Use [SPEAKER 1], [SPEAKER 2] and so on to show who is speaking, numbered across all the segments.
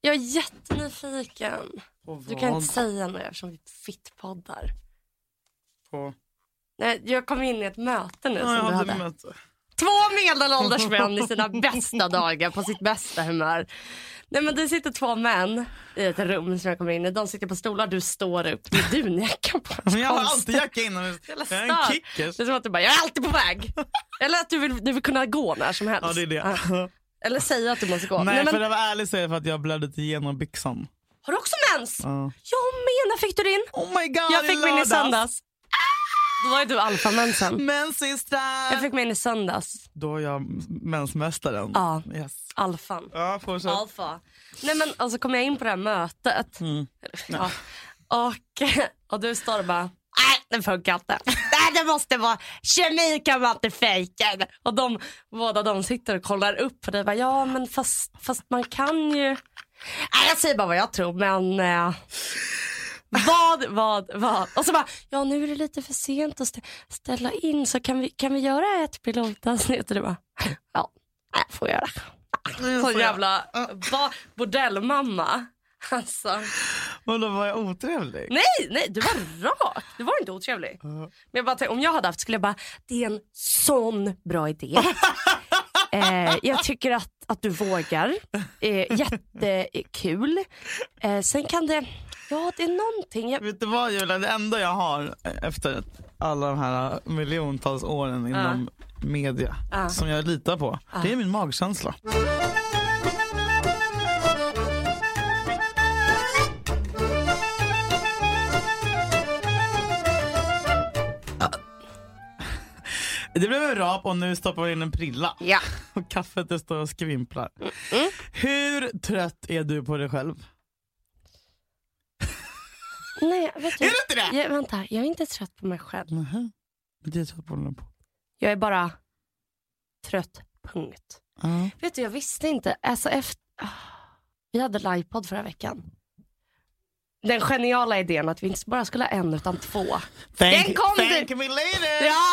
[SPEAKER 1] Jag är jättenyfiken.
[SPEAKER 2] På
[SPEAKER 1] Du kan
[SPEAKER 2] vad?
[SPEAKER 1] inte säga nu eftersom vi fittpoddar.
[SPEAKER 2] På...
[SPEAKER 1] Nej, jag kom in i ett möte nu
[SPEAKER 2] Ja,
[SPEAKER 1] som
[SPEAKER 2] jag
[SPEAKER 1] du
[SPEAKER 2] hade
[SPEAKER 1] hade.
[SPEAKER 2] ett möte.
[SPEAKER 1] Två medelålders män i sina bästa dagar, på sitt bästa humör. Nej men det sitter två män i ett rum som jag kommer in i. De sitter på stolar, du står upp. Det är dunjackan på.
[SPEAKER 2] Men jag har alltid jacka inomhus.
[SPEAKER 1] Jävla
[SPEAKER 2] Jag är en
[SPEAKER 1] stör.
[SPEAKER 2] kickers.
[SPEAKER 1] Det är som att du bara, jag är alltid på väg. Eller att du vill, du vill kunna gå när som helst.
[SPEAKER 2] Ja, det är det.
[SPEAKER 1] Ja. Eller säga att du måste gå.
[SPEAKER 2] Nej,
[SPEAKER 1] Nej, men,
[SPEAKER 2] för det var ärligt säger jag för att jag blödde igenom byxan.
[SPEAKER 1] Har du också mens?
[SPEAKER 2] Ja.
[SPEAKER 1] Jag med, när fick du din?
[SPEAKER 2] Oh my god,
[SPEAKER 1] Jag fick min i
[SPEAKER 2] lördags.
[SPEAKER 1] söndags. Då var ju du alfamensen.
[SPEAKER 2] Men systrar!
[SPEAKER 1] Jag fick min i söndags.
[SPEAKER 2] Då är jag mensmästaren.
[SPEAKER 1] Ja.
[SPEAKER 2] Yes.
[SPEAKER 1] Alfan.
[SPEAKER 2] Ja, fortsätt.
[SPEAKER 1] Alfa. Nej men alltså kom jag in på det här mötet.
[SPEAKER 2] Mm.
[SPEAKER 1] Ja. Och, och du står och bara, nej det funkar inte. Nej det måste vara, kemi kan man inte fejka. Och de, båda de sitter och kollar upp på dig bara, ja men fast, fast man kan ju. Nej jag säger bara vad jag tror men. Eh, vad, vad, vad? Och så bara, ja nu är det lite för sent att stä- ställa in så kan vi, kan vi göra ett pilotavsnitt? Och du bara, ja, nej, jag får göra.
[SPEAKER 2] Nu får
[SPEAKER 1] Sån
[SPEAKER 2] jag-
[SPEAKER 1] jävla ba- bordellmamma. Alltså.
[SPEAKER 2] Och då var jag otrevlig.
[SPEAKER 1] Nej, nej, du var rak. Du var inte otrevlig. Men jag bara tänkte, om jag hade haft skulle jag bara, det är en sån bra idé. eh, jag tycker att, att du vågar. Eh, jättekul. Eh, sen kan det, ja det är någonting. Jag,
[SPEAKER 2] Vet du vad Julia, det enda jag har efter alla de här miljontals åren inom media
[SPEAKER 1] Ja.
[SPEAKER 2] som jag litar på, det är min magkänsla. Det blev en rap och nu stoppar vi in en prilla.
[SPEAKER 1] ja.
[SPEAKER 2] Och kaffet det står och skvimplar. Hur trött är du på dig själv?
[SPEAKER 1] Nej, vet du,
[SPEAKER 2] Är du inte det?
[SPEAKER 1] jag, vänta, jag är inte trött på mig själv.
[SPEAKER 2] Nähä. Det är trött på den på.
[SPEAKER 1] Jag är bara trött, punkt. Vet du, jag visste inte. Alltså, efter... Ah. Vi hade livepodd förra veckan. Den geniala idén att vi inte bara skulle ha en utan två.
[SPEAKER 2] Thank,
[SPEAKER 1] Den kom
[SPEAKER 2] thank
[SPEAKER 1] du-
[SPEAKER 2] me later!
[SPEAKER 1] Ja!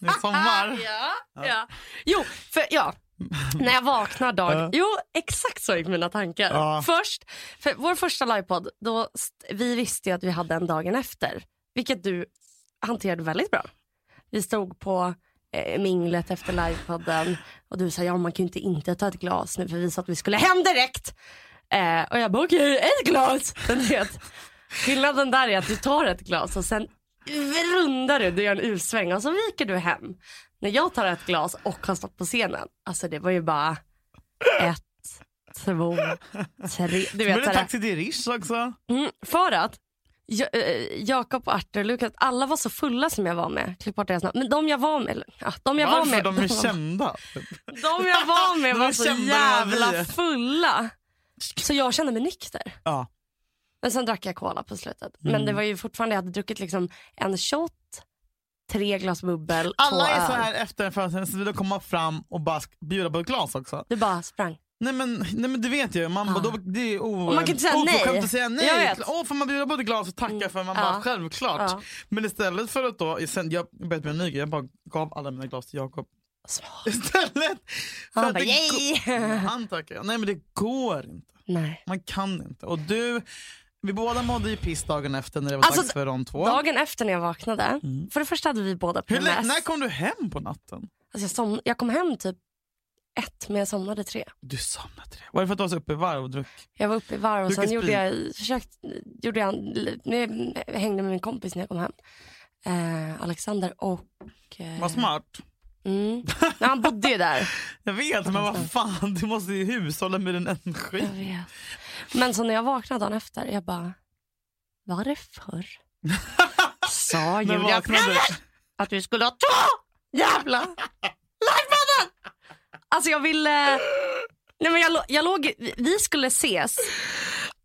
[SPEAKER 2] Det är sommar.
[SPEAKER 1] Ja, ja. Jo, för ja. När jag vaknar
[SPEAKER 2] Ja.
[SPEAKER 1] dag. Jo, exakt så gick mina tankar.
[SPEAKER 2] Ja.
[SPEAKER 1] Först, för vår första livepodd, då st- vi visste ju att vi hade en dagen efter. Vilket du hanterade väldigt bra. Vi stod på eh, minglet efter livepodden och du sa ja man kan ju inte inte ta ett glas nu för vi sa att vi skulle hem direkt. Eh, och jag bara okej, ett glas. Men du vet, skillnaden där är att du tar ett glas och sen rundar du, du gör en U-sväng och så viker du hem. När jag tar ett glas och har stått på scenen, alltså det var ju bara ett, två, tre. Du
[SPEAKER 2] Men
[SPEAKER 1] vet,
[SPEAKER 2] det
[SPEAKER 1] så
[SPEAKER 2] är
[SPEAKER 1] här,
[SPEAKER 2] taxi till Rish också.
[SPEAKER 1] Mm, för att Ja- eh, Jakob och Arthur och Lukas, alla var så fulla som jag var med. Klipp bort deras namn. Men de jag var med, eller, ja, de jag var
[SPEAKER 2] Varför?
[SPEAKER 1] med,
[SPEAKER 2] De är kända.
[SPEAKER 1] de jag var med
[SPEAKER 2] De är
[SPEAKER 1] var så
[SPEAKER 2] kända, de här vi.
[SPEAKER 1] jävla fulla. Så jag kände mig nykter.
[SPEAKER 2] Ja.
[SPEAKER 1] Men sen drack jag cola på slutet.
[SPEAKER 2] Mm.
[SPEAKER 1] Men det var ju fortfarande, jag hade druckit liksom en shot, tre glas bubbel,
[SPEAKER 2] Alla
[SPEAKER 1] två
[SPEAKER 2] är så
[SPEAKER 1] öl.
[SPEAKER 2] här efter en föreställning så vill de komma fram och bara sk- bjuda på ett glas också.
[SPEAKER 1] Du bara sprang.
[SPEAKER 2] Nej men, nej, men det vet ju, man bara, då, det är o-
[SPEAKER 1] Ah. Och man kan inte säga
[SPEAKER 2] oförskämt
[SPEAKER 1] nej.
[SPEAKER 2] att säga
[SPEAKER 1] Jag
[SPEAKER 2] nej.
[SPEAKER 1] vet. Mm.
[SPEAKER 2] Åh, får man bjuda på ett glas och tacka för man
[SPEAKER 1] Ja.
[SPEAKER 2] bara självklart.
[SPEAKER 1] Ja.
[SPEAKER 2] Men istället för att då, sen, jag började med en ny grej, jag bara gav alla mina glas till Jakob.
[SPEAKER 1] Smart.
[SPEAKER 2] Istället. för
[SPEAKER 1] Han
[SPEAKER 2] att
[SPEAKER 1] bara,
[SPEAKER 2] det
[SPEAKER 1] "Yay!"
[SPEAKER 2] går- Nej, Han tackar. Nej men det går inte.
[SPEAKER 1] Nej.
[SPEAKER 2] Man kan inte. Och du, vi båda mådde ju piss dagen efter när det var
[SPEAKER 1] Alltså,
[SPEAKER 2] dags för de två.
[SPEAKER 1] Dagen efter när jag vaknade, för det första hade vi båda
[SPEAKER 2] Mm. Hur lä-
[SPEAKER 1] PMS.
[SPEAKER 2] när kom du hem på natten?
[SPEAKER 1] Alltså jag, som, jag kom hem typ ett, men jag somnade tre.
[SPEAKER 2] Du somnade tre. Var det för att du var så uppe i varv och drack?
[SPEAKER 1] Jag var uppe i varv och
[SPEAKER 2] Lucas
[SPEAKER 1] sen gjorde
[SPEAKER 2] Pil.
[SPEAKER 1] jag, försökt, gjorde jag, en- nu- jag hängde med min kompis när jag kom hem. Eh, Alexander och... Eh,
[SPEAKER 2] Vad smart.
[SPEAKER 1] mm, men han bodde ju där.
[SPEAKER 2] Jag vet, men vad fan, du måste ju hushålla med din energi.
[SPEAKER 1] Jag vet. Men så när jag vaknade dagen efter, jag bara, var det förr? Sa
[SPEAKER 2] Men
[SPEAKER 1] Julia
[SPEAKER 2] vaknade
[SPEAKER 1] att vi skulle ha två jävla livepodden. Alltså jag ville... Nej men jag, lå- jag låg, vi skulle ses.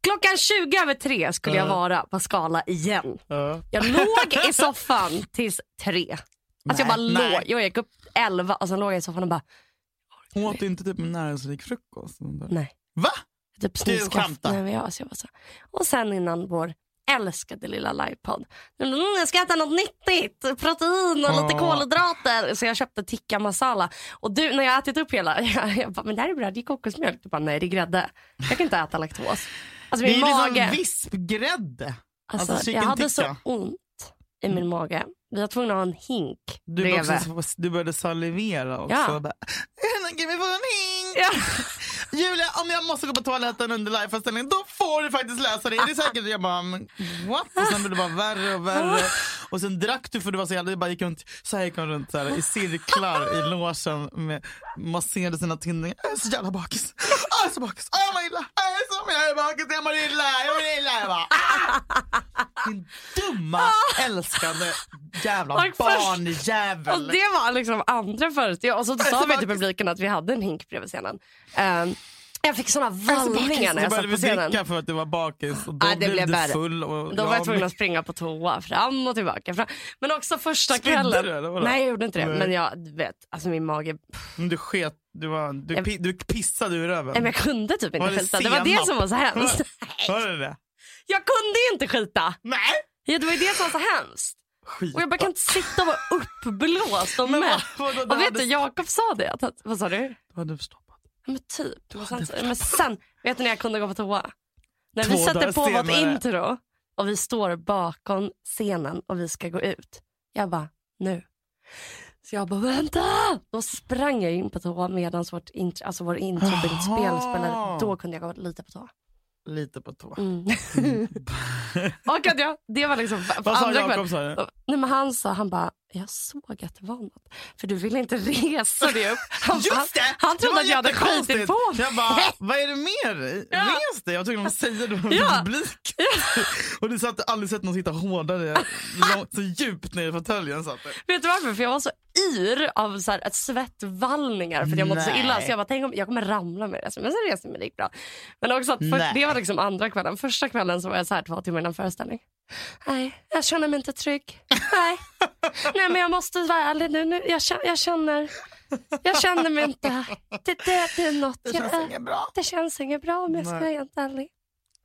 [SPEAKER 1] Klockan 20 över tre skulle jag vara på skala igen.
[SPEAKER 2] Ja.
[SPEAKER 1] Jag låg i soffan tills tre. Alltså jag bara
[SPEAKER 2] Nej, nej.
[SPEAKER 1] låg. Jag gick upp elva och sen låg jag i soffan och bara,
[SPEAKER 2] Hon åt inte typ en näringsrik frukost? och sånt där.
[SPEAKER 1] nej.
[SPEAKER 2] Va?
[SPEAKER 1] Typ
[SPEAKER 2] Du
[SPEAKER 1] snuskaffe.
[SPEAKER 2] skämtar.
[SPEAKER 1] Nej, men jag, alltså jag var så. Och sen innan vår älskade lilla livepodd. Mm, jag ska äta något nyttigt, protein och lite
[SPEAKER 2] Ja.
[SPEAKER 1] kolhydrater. Så jag köpte tikka masala. Och du, när jag har ätit upp hela, jag, jag bara, men det här är bröd, det är kokosmjölk. Du bara, nej det är grädde. Jag kan inte äta laktos. Alltså
[SPEAKER 2] Det
[SPEAKER 1] min
[SPEAKER 2] är
[SPEAKER 1] mage.
[SPEAKER 2] liksom vispgrädde.
[SPEAKER 1] Alltså,
[SPEAKER 2] alltså,
[SPEAKER 1] jag
[SPEAKER 2] chicken
[SPEAKER 1] hade så
[SPEAKER 2] tikka.
[SPEAKER 1] ont i min mage. Vi var tvungna att ha en hink
[SPEAKER 2] Du,
[SPEAKER 1] bredvid.
[SPEAKER 2] började också- du började salivera också.
[SPEAKER 1] Ja.
[SPEAKER 2] Bara, Ge mig en hink!
[SPEAKER 1] Ja.
[SPEAKER 2] Julia, om jag måste gå på toaletten under liveföreställningen, då får du faktiskt läsa det. Är det säkert? Jag bara, men what? Och sen blev det bara värre och värre. Och sen drack du för du var så jävla... Du bara gick runt, så här gick hon runt så här, i cirklar i logen. Med, masserade sina tinningar. Jag är så jävla bakis. Jag är så bakis. Åh, vad illa. Jag är så jag är bakis. Jag mår illa. Jag mår illa. Jag bara, ah! Din dumma, älskande jävla
[SPEAKER 1] Och först- Och
[SPEAKER 2] barnjävel.
[SPEAKER 1] det var liksom andra föreställningar. Och så sa
[SPEAKER 2] så
[SPEAKER 1] vi till
[SPEAKER 2] bakis.
[SPEAKER 1] publiken att vi hade en hink bredvid scenen. Ehm, jag fick såna
[SPEAKER 2] Jag är så bakis.
[SPEAKER 1] vallningar när jag
[SPEAKER 2] Du
[SPEAKER 1] satt
[SPEAKER 2] började
[SPEAKER 1] på scenen.
[SPEAKER 2] dricka för att du var bakis och då
[SPEAKER 1] Nej, det
[SPEAKER 2] blev
[SPEAKER 1] blev
[SPEAKER 2] du
[SPEAKER 1] värre.
[SPEAKER 2] full. Och
[SPEAKER 1] Då var jag
[SPEAKER 2] jag
[SPEAKER 1] tvungen att springa på toa fram och tillbaka. Fram. Men också första
[SPEAKER 2] Spydde
[SPEAKER 1] kvällen.
[SPEAKER 2] du, eller vadå?
[SPEAKER 1] Nej jag gjorde inte det.
[SPEAKER 2] Nej.
[SPEAKER 1] Men jag du vet, alltså min mage. Nej,
[SPEAKER 2] Men du sket, du, var, du,
[SPEAKER 1] Jag-
[SPEAKER 2] pi- du pissade ur röven.
[SPEAKER 1] men jag kunde typ inte
[SPEAKER 2] Var det
[SPEAKER 1] skita. Det var det
[SPEAKER 2] senap?
[SPEAKER 1] som var så hemskt.
[SPEAKER 2] Var- Hör du det?
[SPEAKER 1] Jag kunde ju inte skita.
[SPEAKER 2] Nej!
[SPEAKER 1] Ja, det var ju det som var så hemskt.
[SPEAKER 2] Skit.
[SPEAKER 1] Och jag bara kan inte sitta och vara uppblåst och
[SPEAKER 2] Men
[SPEAKER 1] mätt.
[SPEAKER 2] vad- vadå, det
[SPEAKER 1] Och vet
[SPEAKER 2] hade-
[SPEAKER 1] du, Jakob sa det. Att, han- vad sa du?
[SPEAKER 2] Vad hade du stoppat?
[SPEAKER 1] Ja, Men typ. Men sen, men sen, vet ni när jag kunde gå på toa? När vi
[SPEAKER 2] Två
[SPEAKER 1] sätter
[SPEAKER 2] dagar
[SPEAKER 1] på vårt
[SPEAKER 2] senare.
[SPEAKER 1] intro och vi står bakom scenen och vi ska gå ut. Jag bara, nu. Så jag bara, vänta! Då sprang jag in på toa medan vårt intro, alltså vår introbildsspel
[SPEAKER 2] Jaha.
[SPEAKER 1] spelade. Då kunde jag gå lite på toa.
[SPEAKER 2] Lite på toa.
[SPEAKER 1] Mm. och att jag, det var liksom för
[SPEAKER 2] Vad sa
[SPEAKER 1] andra kvällen.
[SPEAKER 2] Jakob? Sa du?
[SPEAKER 1] Nej, men han sa, han bara, jag såg att det var något. För du ville inte resa dig upp. Han, han,
[SPEAKER 2] Just det!
[SPEAKER 1] han
[SPEAKER 2] Det
[SPEAKER 1] trodde
[SPEAKER 2] var
[SPEAKER 1] att jag hade skitit
[SPEAKER 2] jättekonstigt.
[SPEAKER 1] på mig.
[SPEAKER 2] Jag bara, vad är det med dig?
[SPEAKER 1] Ja.
[SPEAKER 2] Res dig! Jag tycker de säger det med
[SPEAKER 1] Ja.
[SPEAKER 2] publik. Och du satt aldrig sett någon sitta hårdare, långt, så djupt ner i fåtöljen satt du.
[SPEAKER 1] Vet du varför? För jag var så yr av så här, ett svettvallningar för att jag mådde så
[SPEAKER 2] Nej.
[SPEAKER 1] illa. Så jag bara, tänk om jag kommer ramla med det. Men sen reste jag mig, det gick bra. Men också att för,
[SPEAKER 2] Nej.
[SPEAKER 1] det var liksom andra kvällen. Första kvällen så var jag så här två timmar innan föreställning. Nej, jag känner mig inte trygg. Nej, Nej men jag måste vara ärlig nu. nu jag, känner, jag, känner, jag känner mig inte... Det, det, det är något.
[SPEAKER 2] Det
[SPEAKER 1] jag,
[SPEAKER 2] känns inget bra.
[SPEAKER 1] det känns inget bra om jag ska
[SPEAKER 2] Nej.
[SPEAKER 1] vara helt ärlig.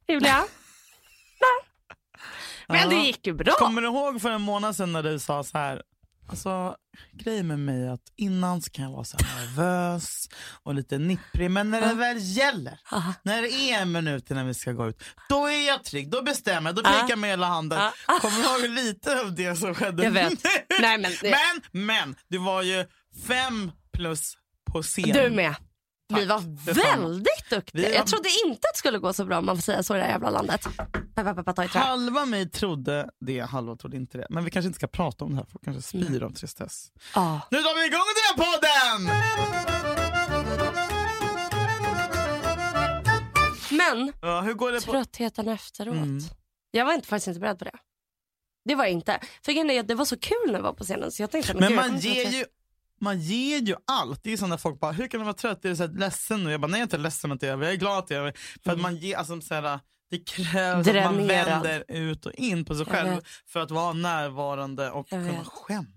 [SPEAKER 1] Julia? Nej. Men det
[SPEAKER 2] Ja.
[SPEAKER 1] gick ju bra.
[SPEAKER 2] Kommer du ihåg för en månad sedan när du sa så här, alltså grejen med mig är att innan så kan jag vara så här nervös och lite nipprig, men när det väl gäller,
[SPEAKER 1] Aha.
[SPEAKER 2] när det är en minut innan vi ska gå ut, då är jag trygg, då bestämmer jag, då pekar jag med hela handen. Kommer du ihåg lite av det som skedde?
[SPEAKER 1] Ah. Jag vet.
[SPEAKER 2] nu?
[SPEAKER 1] Nej, men det-
[SPEAKER 2] men, men, du var ju fem plus på scen.
[SPEAKER 1] Du med. Vi var
[SPEAKER 2] detsamma.
[SPEAKER 1] väldigt duktiga.
[SPEAKER 2] Vi
[SPEAKER 1] Jag
[SPEAKER 2] var-
[SPEAKER 1] trodde inte att det skulle gå så bra om man får säga så i det här jävla landet. Peppa, peppa, ta i trä.
[SPEAKER 2] Halva mig trodde det, halva trodde inte det. Men vi kanske inte ska prata om det här, för vi kanske spyr av tristess.
[SPEAKER 1] Ja.
[SPEAKER 2] Nu drar vi igång den här podden!
[SPEAKER 1] Men
[SPEAKER 2] Ja, hur går det på... Mm.
[SPEAKER 1] tröttheten efteråt. Jag var inte, faktiskt inte beredd på det. Det var jag inte. För grejen är att det var så kul när jag var på scenen så jag tänkte
[SPEAKER 2] Men
[SPEAKER 1] gud, jag
[SPEAKER 2] man
[SPEAKER 1] kommer
[SPEAKER 2] ger
[SPEAKER 1] inte
[SPEAKER 2] ju, man ger ju allt. Det är ju sådana folk bara, hur kan du vara trött? Är du så här ledsen nu? Jag bara, nej jag är inte ledsen att det är över. Jag är glad att det är över. För
[SPEAKER 1] Mm.
[SPEAKER 2] att man ger, alltså så här, det krävs att man
[SPEAKER 1] Dränerad.
[SPEAKER 2] vänder ut och in på sig
[SPEAKER 1] Jag
[SPEAKER 2] själv
[SPEAKER 1] vet.
[SPEAKER 2] för att vara närvarande och
[SPEAKER 1] Jag
[SPEAKER 2] kunna
[SPEAKER 1] vet.
[SPEAKER 2] skämta.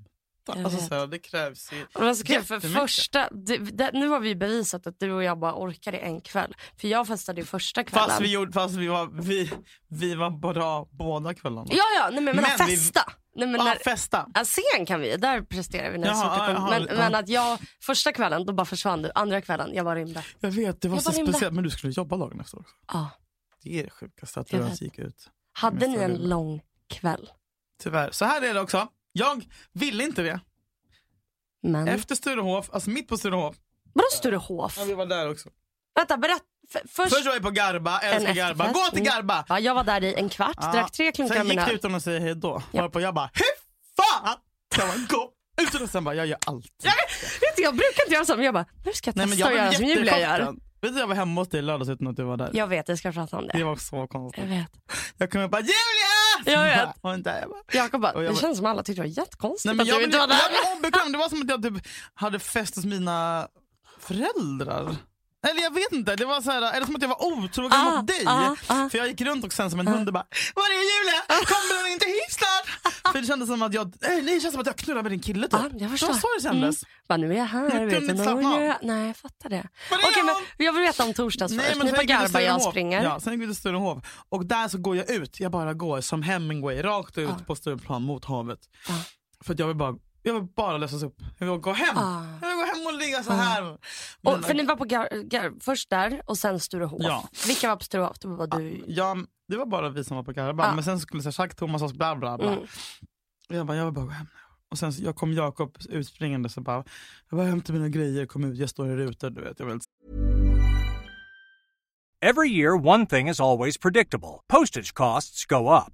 [SPEAKER 1] Jag
[SPEAKER 2] Alltså
[SPEAKER 1] vet.
[SPEAKER 2] så här, det krävs ju.
[SPEAKER 1] vara- Det var så kul för
[SPEAKER 2] Jättemycket.
[SPEAKER 1] första, det, det, nu har vi bevisat att du och jag bara orkar det en kväll. För jag festade ju första kvällen.
[SPEAKER 2] Fast vi, gjorde, fast vi var, vi, vi var bra båda kvällarna.
[SPEAKER 1] Ja, ja, nej men, men,
[SPEAKER 2] Men vi-
[SPEAKER 1] festa. Nej, men
[SPEAKER 2] ah,
[SPEAKER 1] när,
[SPEAKER 2] festa.
[SPEAKER 1] Ja, scen kan vi där presterar vi. När
[SPEAKER 2] Jaha,
[SPEAKER 1] jaha,
[SPEAKER 2] jaha,
[SPEAKER 1] men,
[SPEAKER 2] ja.
[SPEAKER 1] men att jag, första kvällen då bara försvann du, andra kvällen jag var rymde.
[SPEAKER 2] Jag vet, det var
[SPEAKER 1] Jag
[SPEAKER 2] så
[SPEAKER 1] var himla-
[SPEAKER 2] speciellt. Men du skulle jobba dagen efter också.
[SPEAKER 1] Ja.
[SPEAKER 2] Det är det sjukaste att
[SPEAKER 1] Jag
[SPEAKER 2] du
[SPEAKER 1] vet.
[SPEAKER 2] ens gick ut.
[SPEAKER 1] Hade
[SPEAKER 2] Men
[SPEAKER 1] ni
[SPEAKER 2] så är
[SPEAKER 1] en
[SPEAKER 2] det.
[SPEAKER 1] lång kväll?
[SPEAKER 2] Tyvärr. Så här är det också. Jag ville inte det.
[SPEAKER 1] Men
[SPEAKER 2] Efter Sturehof, alltså mitt på Sturehof.
[SPEAKER 1] vadå Sturehof?
[SPEAKER 2] Ja, vi var där också.
[SPEAKER 1] Vänta berätta. F- först,
[SPEAKER 2] Först var vi på Garba, älskar
[SPEAKER 1] En
[SPEAKER 2] Garba.
[SPEAKER 1] efterfest. Mm.
[SPEAKER 2] Gå till Garba!
[SPEAKER 1] ja, jag var där i en kvart,
[SPEAKER 2] Ja.
[SPEAKER 1] drack tre klunkar
[SPEAKER 2] Sen gick
[SPEAKER 1] mina.
[SPEAKER 2] du utan att säga hej då.
[SPEAKER 1] Ja.
[SPEAKER 2] Varpå jag bara, hej fan! Jag bara, gå! Utan att sen bara, jag gör allt.
[SPEAKER 1] Vet du, jag brukar inte göra så men jag bara nu ska jag testa att göra som Julia gör.
[SPEAKER 2] jättechockad. Vet du jag var hemma hos dig i lördags utan att du var där.
[SPEAKER 1] Jag vet jag ska prata om
[SPEAKER 2] Det
[SPEAKER 1] det.
[SPEAKER 2] var så
[SPEAKER 1] Jag
[SPEAKER 2] konstigt.
[SPEAKER 1] vet.
[SPEAKER 2] Jag kom upp och bara, Julia!
[SPEAKER 1] Jag vet.
[SPEAKER 2] Och hon där, jag bara,
[SPEAKER 1] Jakob bara,
[SPEAKER 2] Och jag
[SPEAKER 1] det
[SPEAKER 2] bara-
[SPEAKER 1] känns som alla tyckte det var jättekonstigt
[SPEAKER 2] Nej, men
[SPEAKER 1] att
[SPEAKER 2] jag,
[SPEAKER 1] du
[SPEAKER 2] blev,
[SPEAKER 1] inte var
[SPEAKER 2] jag
[SPEAKER 1] där.
[SPEAKER 2] blev obekväm. Det var som att jag typ hade fest hos mina föräldrar. Eller jag vet inte, det var så här, eller som att jag var otrogen
[SPEAKER 1] Ah,
[SPEAKER 2] mot dig.
[SPEAKER 1] ah, ah.
[SPEAKER 2] För jag gick runt och sen som en hund och bara, var är Julia? Kommer hon inte hit snart? För det kändes som att jag, eh, nej, nej det känns som att jag knullar med din kille typ.
[SPEAKER 1] Ja, Ah, jag
[SPEAKER 2] det
[SPEAKER 1] förstår. Mm.
[SPEAKER 2] var så det kändes.
[SPEAKER 1] Bara, nu är jag här.
[SPEAKER 2] Jag
[SPEAKER 1] vet
[SPEAKER 2] kunde
[SPEAKER 1] du,
[SPEAKER 2] inte slappna av.
[SPEAKER 1] några- Nej, jag fattar det.
[SPEAKER 2] Var är
[SPEAKER 1] Okej,
[SPEAKER 2] han?
[SPEAKER 1] men Alltså, jag vill veta om torsdags först. Ni
[SPEAKER 2] sen
[SPEAKER 1] får
[SPEAKER 2] gick vi till
[SPEAKER 1] garva, jag
[SPEAKER 2] Sturehof.
[SPEAKER 1] springer.
[SPEAKER 2] Ja, sen gick vi till Sturehof. Och där så går jag ut, jag bara går som Hemingway rakt ut
[SPEAKER 1] Ja.
[SPEAKER 2] på Stureplan mot havet.
[SPEAKER 1] Ja.
[SPEAKER 2] För att jag vill bara, jag vill bara lösas upp. Jag vill gå hem.
[SPEAKER 1] Ah.
[SPEAKER 2] Jag vill gå hem och ligga så här. Men-
[SPEAKER 1] Och, för ni var på gar, gar, först där och sen Sturehof.
[SPEAKER 2] Ja.
[SPEAKER 1] Vilka var på Sturehof? Det var bara du.
[SPEAKER 2] Ja, det var bara vi som var på Karaband.
[SPEAKER 1] Ja.
[SPEAKER 2] Men sen skulle så här, Jacques Thomas och bla bla bla.
[SPEAKER 1] Mm.
[SPEAKER 2] Och Jag bara, jag vill bara gå hem nu. Och sen så, jag kom Jakob utspringande så bara, jag bara hämtade mina grejer, kom ut, jag står i rutan du vet. Jag var helt
[SPEAKER 3] Every year, one thing is always predictable postage costs go up.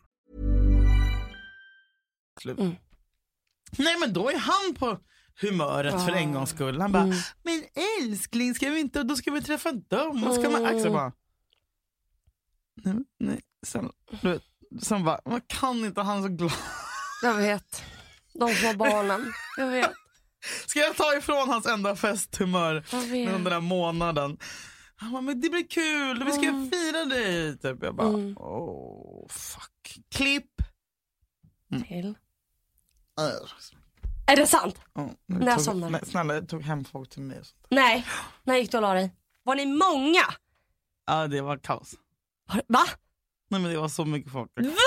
[SPEAKER 2] slut.
[SPEAKER 1] Mm.
[SPEAKER 2] Nej men då är han på humöret för
[SPEAKER 1] Ah.
[SPEAKER 2] en gångs skull. Han bara,
[SPEAKER 1] Mm.
[SPEAKER 2] men älskling ska vi inte, då ska vi träffa dem. Och så kan man,
[SPEAKER 1] Mm.
[SPEAKER 2] Axel bara, nej, nej. Sen, du vet, sen bara, man kan inte han så glad.
[SPEAKER 1] Jag vet. De små barnen. Jag vet.
[SPEAKER 2] Ska jag ta ifrån hans enda festhumör
[SPEAKER 1] Jag vet.
[SPEAKER 2] under den här månaden? Han bara, men det blir kul, vi ska fira dig. Typ. Jag bara,
[SPEAKER 1] Mm.
[SPEAKER 2] oh fuck. Klipp.
[SPEAKER 1] Till.
[SPEAKER 2] Äh.
[SPEAKER 1] Är det sant?
[SPEAKER 2] Ja,
[SPEAKER 1] När jag
[SPEAKER 2] tog-
[SPEAKER 1] somnade.
[SPEAKER 2] nej, Snälla, jag tog hem folk till mig. och sånt.
[SPEAKER 1] Nej. När gick du och la dig? Var ni många?
[SPEAKER 2] Ja, det var kaos.
[SPEAKER 1] Har- Va?
[SPEAKER 2] Nej, men det var så mycket folk.
[SPEAKER 1] Mm. Nej!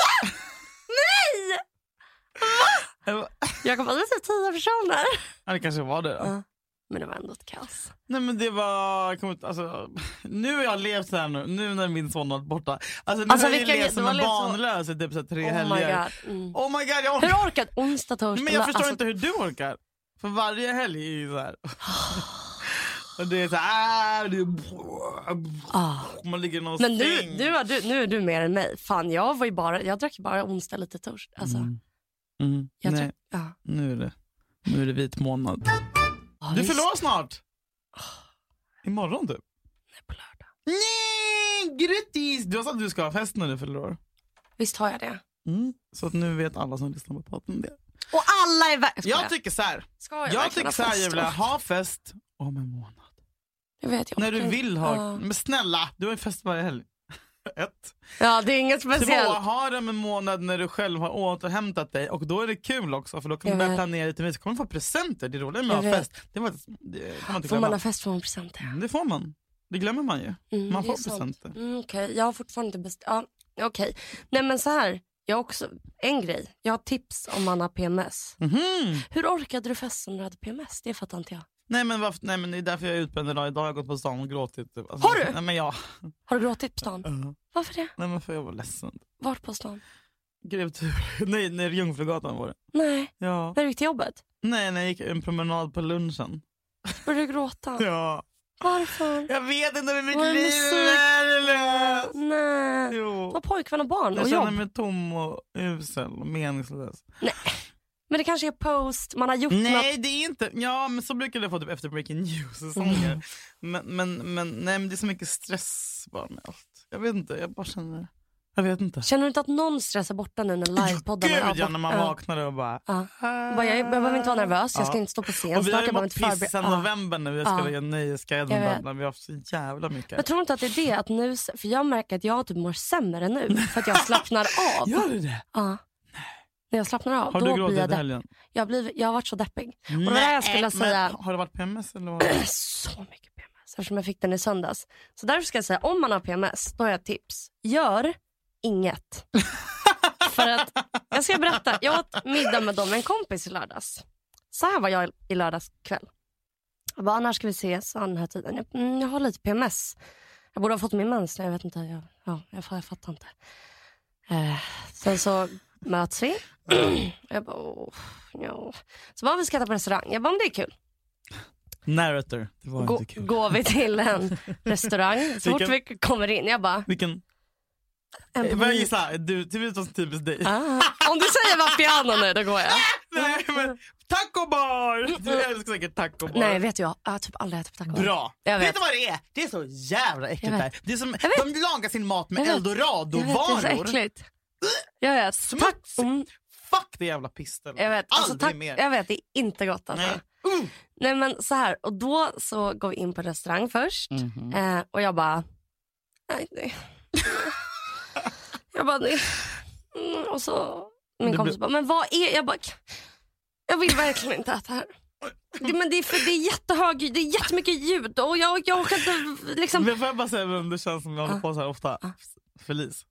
[SPEAKER 2] Jag bara,
[SPEAKER 1] Jag kom hit till tio personer.
[SPEAKER 2] Ja, det kanske var det då.
[SPEAKER 1] Ja. Men det var ändå ett kaos.
[SPEAKER 2] Nej men det var, jag kommer inte- alltså, nu har jag levt så här nu, nu när min son har varit borta. Alltså nu
[SPEAKER 1] Alltså,
[SPEAKER 2] har jag
[SPEAKER 1] vilka-
[SPEAKER 2] levt
[SPEAKER 1] du
[SPEAKER 2] som
[SPEAKER 1] har
[SPEAKER 2] en
[SPEAKER 1] levt så-
[SPEAKER 2] barnlös i typ så här tre
[SPEAKER 1] Oh my
[SPEAKER 2] helger.
[SPEAKER 1] god. Mm.
[SPEAKER 2] Oh my god, jag orkar.
[SPEAKER 1] Hur orkat onsdag, torsdag?
[SPEAKER 2] Men jag förstår
[SPEAKER 1] alltså,
[SPEAKER 2] inte hur du orkar. För varje helg är ju så här. Och det är så här, ah, det är,
[SPEAKER 1] Ah.
[SPEAKER 2] man ligger i någon
[SPEAKER 1] Men
[SPEAKER 2] säng.
[SPEAKER 1] nu, nu, har du, nu är du mer än mig. Fan, jag, var ju bara, jag drack ju bara onsdag, lite torsdag. Alltså,
[SPEAKER 2] Mm. Mm.
[SPEAKER 1] jag
[SPEAKER 2] Nej,
[SPEAKER 1] drack, ja.
[SPEAKER 2] nu är det, nu är det vit månad.
[SPEAKER 1] Ja,
[SPEAKER 2] Du
[SPEAKER 1] visst.
[SPEAKER 2] förlorar snart. Imorgon typ.
[SPEAKER 1] Nej, på lördag.
[SPEAKER 2] Nej, grattis! Du har sagt att du ska ha fest när du fyller år.
[SPEAKER 1] Visst har jag det? Mm.
[SPEAKER 2] Så att nu vet alla som lyssnar på podden det.
[SPEAKER 1] Och alla är väg. Ska
[SPEAKER 2] Jag tycker så här.
[SPEAKER 1] Ska
[SPEAKER 2] Jag,
[SPEAKER 1] verkligen
[SPEAKER 2] tycker
[SPEAKER 1] ha
[SPEAKER 2] så här
[SPEAKER 1] fest
[SPEAKER 2] Julia,
[SPEAKER 1] då?
[SPEAKER 2] ha fest om en månad.
[SPEAKER 1] Jag vet, jag
[SPEAKER 2] När du
[SPEAKER 1] orkar inte.
[SPEAKER 2] vill ha.
[SPEAKER 1] Ja.
[SPEAKER 2] Men snälla, du har ju fest varje helg. Ett.
[SPEAKER 1] Ja, det är inget
[SPEAKER 2] Två,
[SPEAKER 1] speciellt.
[SPEAKER 2] ha det om en månad när du själv har återhämtat dig. Och då är det kul också för då kan
[SPEAKER 1] Jag
[SPEAKER 2] du börja
[SPEAKER 1] vet.
[SPEAKER 2] planera lite mer. Så kommer du få presenter. Det roliga med att
[SPEAKER 1] Jag
[SPEAKER 2] ha
[SPEAKER 1] vet.
[SPEAKER 2] fest, det, var, det får man inte
[SPEAKER 1] Får man ha
[SPEAKER 2] glömma.
[SPEAKER 1] fest får man presenter.
[SPEAKER 2] Det får man. Det glömmer man ju.
[SPEAKER 1] Mm,
[SPEAKER 2] Man
[SPEAKER 1] det
[SPEAKER 2] får
[SPEAKER 1] är sant.
[SPEAKER 2] presenter.
[SPEAKER 1] Mm, Okej, jag har fortfarande inte bestämt. Ja, Okej, nej men så här. Jag har också en grej. Jag har tips om man har PMS.
[SPEAKER 2] Mhm.
[SPEAKER 1] Hur orkade du festa när du hade PMS? Det fattar inte jag.
[SPEAKER 2] Nej, men varför, nej men det är därför jag är utbränd idag. Idag har jag gått på stan och gråtit. Typ. Alltså,
[SPEAKER 1] Har du?
[SPEAKER 2] Nej men jag.
[SPEAKER 1] Har du gråtit på stan?
[SPEAKER 2] Uh-huh.
[SPEAKER 1] Varför det?
[SPEAKER 2] Nej men för jag var ledsen.
[SPEAKER 1] Vart på stan?
[SPEAKER 2] Grev tur. Nej, nej Jungfrugatan var det.
[SPEAKER 1] Nej,
[SPEAKER 2] Ja.
[SPEAKER 1] när du gick till jobbet?
[SPEAKER 2] Nej, när jag gick en promenad på lunchen.
[SPEAKER 1] Började du gråta?
[SPEAKER 2] Ja.
[SPEAKER 1] Varför?
[SPEAKER 2] Jag vet inte hur mitt
[SPEAKER 1] Vad är
[SPEAKER 2] liv
[SPEAKER 1] musik?
[SPEAKER 2] är värdelöst.
[SPEAKER 1] Nej. Det var
[SPEAKER 2] Jo.
[SPEAKER 1] pojkvän och barn och
[SPEAKER 2] Jag känner
[SPEAKER 1] jobb.
[SPEAKER 2] mig tom och usel och meningslös.
[SPEAKER 1] Men det kanske är post, man har gjort något.
[SPEAKER 2] Nej, det är inte... Ja, men så brukar det få typ efter Breaking News-säsonger.
[SPEAKER 1] Mm.
[SPEAKER 2] Men, men, men, nej, men det är så mycket stress bara med allt. Jag vet inte, jag bara känner... Jag vet inte.
[SPEAKER 1] Känner du inte att någon stress är borta nu när livepodden
[SPEAKER 2] Gud,
[SPEAKER 1] är
[SPEAKER 2] ja, när man
[SPEAKER 1] Ja.
[SPEAKER 2] vaknar och bara...
[SPEAKER 1] Ja. Bara, jag, jag behöver inte vara nervös, jag ska inte stå på scen
[SPEAKER 2] Och vi
[SPEAKER 1] snart.
[SPEAKER 2] har ju
[SPEAKER 1] Jag behöver
[SPEAKER 2] mått
[SPEAKER 1] inte
[SPEAKER 2] piss sen
[SPEAKER 1] förbereda. Ja.
[SPEAKER 2] november nu. Jag ska
[SPEAKER 1] Ja.
[SPEAKER 2] lägga Nöjesguiden
[SPEAKER 1] Jag vet.
[SPEAKER 2] och babbla. Vi har haft så jävla
[SPEAKER 1] Men
[SPEAKER 2] mycket.
[SPEAKER 1] tror du inte att det är det? Att nu, för jag märker att jag typ mår sämre nu för att jag slappnar av.
[SPEAKER 2] Gör du det?
[SPEAKER 1] Ja. När jag slappnar av,
[SPEAKER 2] Har
[SPEAKER 1] då blir
[SPEAKER 2] du
[SPEAKER 1] jag
[SPEAKER 2] gråtit i
[SPEAKER 1] deppig.
[SPEAKER 2] helgen?
[SPEAKER 1] Jag, blir, jag har varit så deppig. det var det jag skulle
[SPEAKER 2] men
[SPEAKER 1] säga.
[SPEAKER 2] Har det varit PMS eller vad? det?
[SPEAKER 1] så mycket PMS eftersom jag fick den i söndags. Så därför ska jag säga, om man har PMS, då har jag ett tips. Gör inget. För att, jag ska berätta, jag åt middag med dem, en kompis i lördags. Så här var jag i lördags kväll. Jag bara, "Ah, när ska vi ses? Så den här tiden. Jag, mm, jag har lite PMS. Jag borde ha fått min mens, jag vet inte. Jag, ja, jag, jag fattar inte. Eh, sen så möts vi. jag bara, åh, ja. Så bara, vi ska äta på restaurang. Jag bara, men det är kul
[SPEAKER 2] Narrator. Det var
[SPEAKER 1] gå,
[SPEAKER 2] inte kul.
[SPEAKER 1] går vi till en restaurang. Så fort vi kommer in, jag bara,
[SPEAKER 2] Vilken?
[SPEAKER 1] En
[SPEAKER 2] Får
[SPEAKER 1] på
[SPEAKER 2] jag
[SPEAKER 1] min-
[SPEAKER 2] gissa? Du, det låter som typiskt dig.
[SPEAKER 1] Ah. Om du säger vad piano nu, då går jag.
[SPEAKER 2] Nej, men taco bar! Du älskar säkert taco bar.
[SPEAKER 1] Nej, vet du jag? Jag har typ aldrig ätit på taco.
[SPEAKER 2] Bra.
[SPEAKER 1] Jag vet.
[SPEAKER 2] du vad det är? Det är så jävla äckligt
[SPEAKER 1] Jag vet.
[SPEAKER 2] där. Det är som,
[SPEAKER 1] vet.
[SPEAKER 2] de lagar sin mat med
[SPEAKER 1] Jag vet. Jag vet, det är så
[SPEAKER 2] eldoradovaror.
[SPEAKER 1] äckligt. Jag vet.
[SPEAKER 2] Smuts.
[SPEAKER 1] Mm,
[SPEAKER 2] Fuck det jävla pistel.
[SPEAKER 1] jag vet. Alltså,
[SPEAKER 2] Aldrig
[SPEAKER 1] tack,
[SPEAKER 2] mer.
[SPEAKER 1] jag vet, det är inte gott alltså.
[SPEAKER 2] Nej.
[SPEAKER 1] Nej. men så här, och då så går vi in på restaurang först
[SPEAKER 2] Mhm.
[SPEAKER 1] eh, och jag bara, nej, nej. jag bara, nej. Mm, och så min
[SPEAKER 2] Det
[SPEAKER 1] kompis
[SPEAKER 2] blir-
[SPEAKER 1] bara, men vad är, jag bara, jag vill verkligen inte äta här. Det, men det är, för, det är jättehög, det är jättemycket ljud och jag, jag orkar inte liksom.
[SPEAKER 2] Men får jag bara säga vem det känns som jag håller på så här ofta? Felice.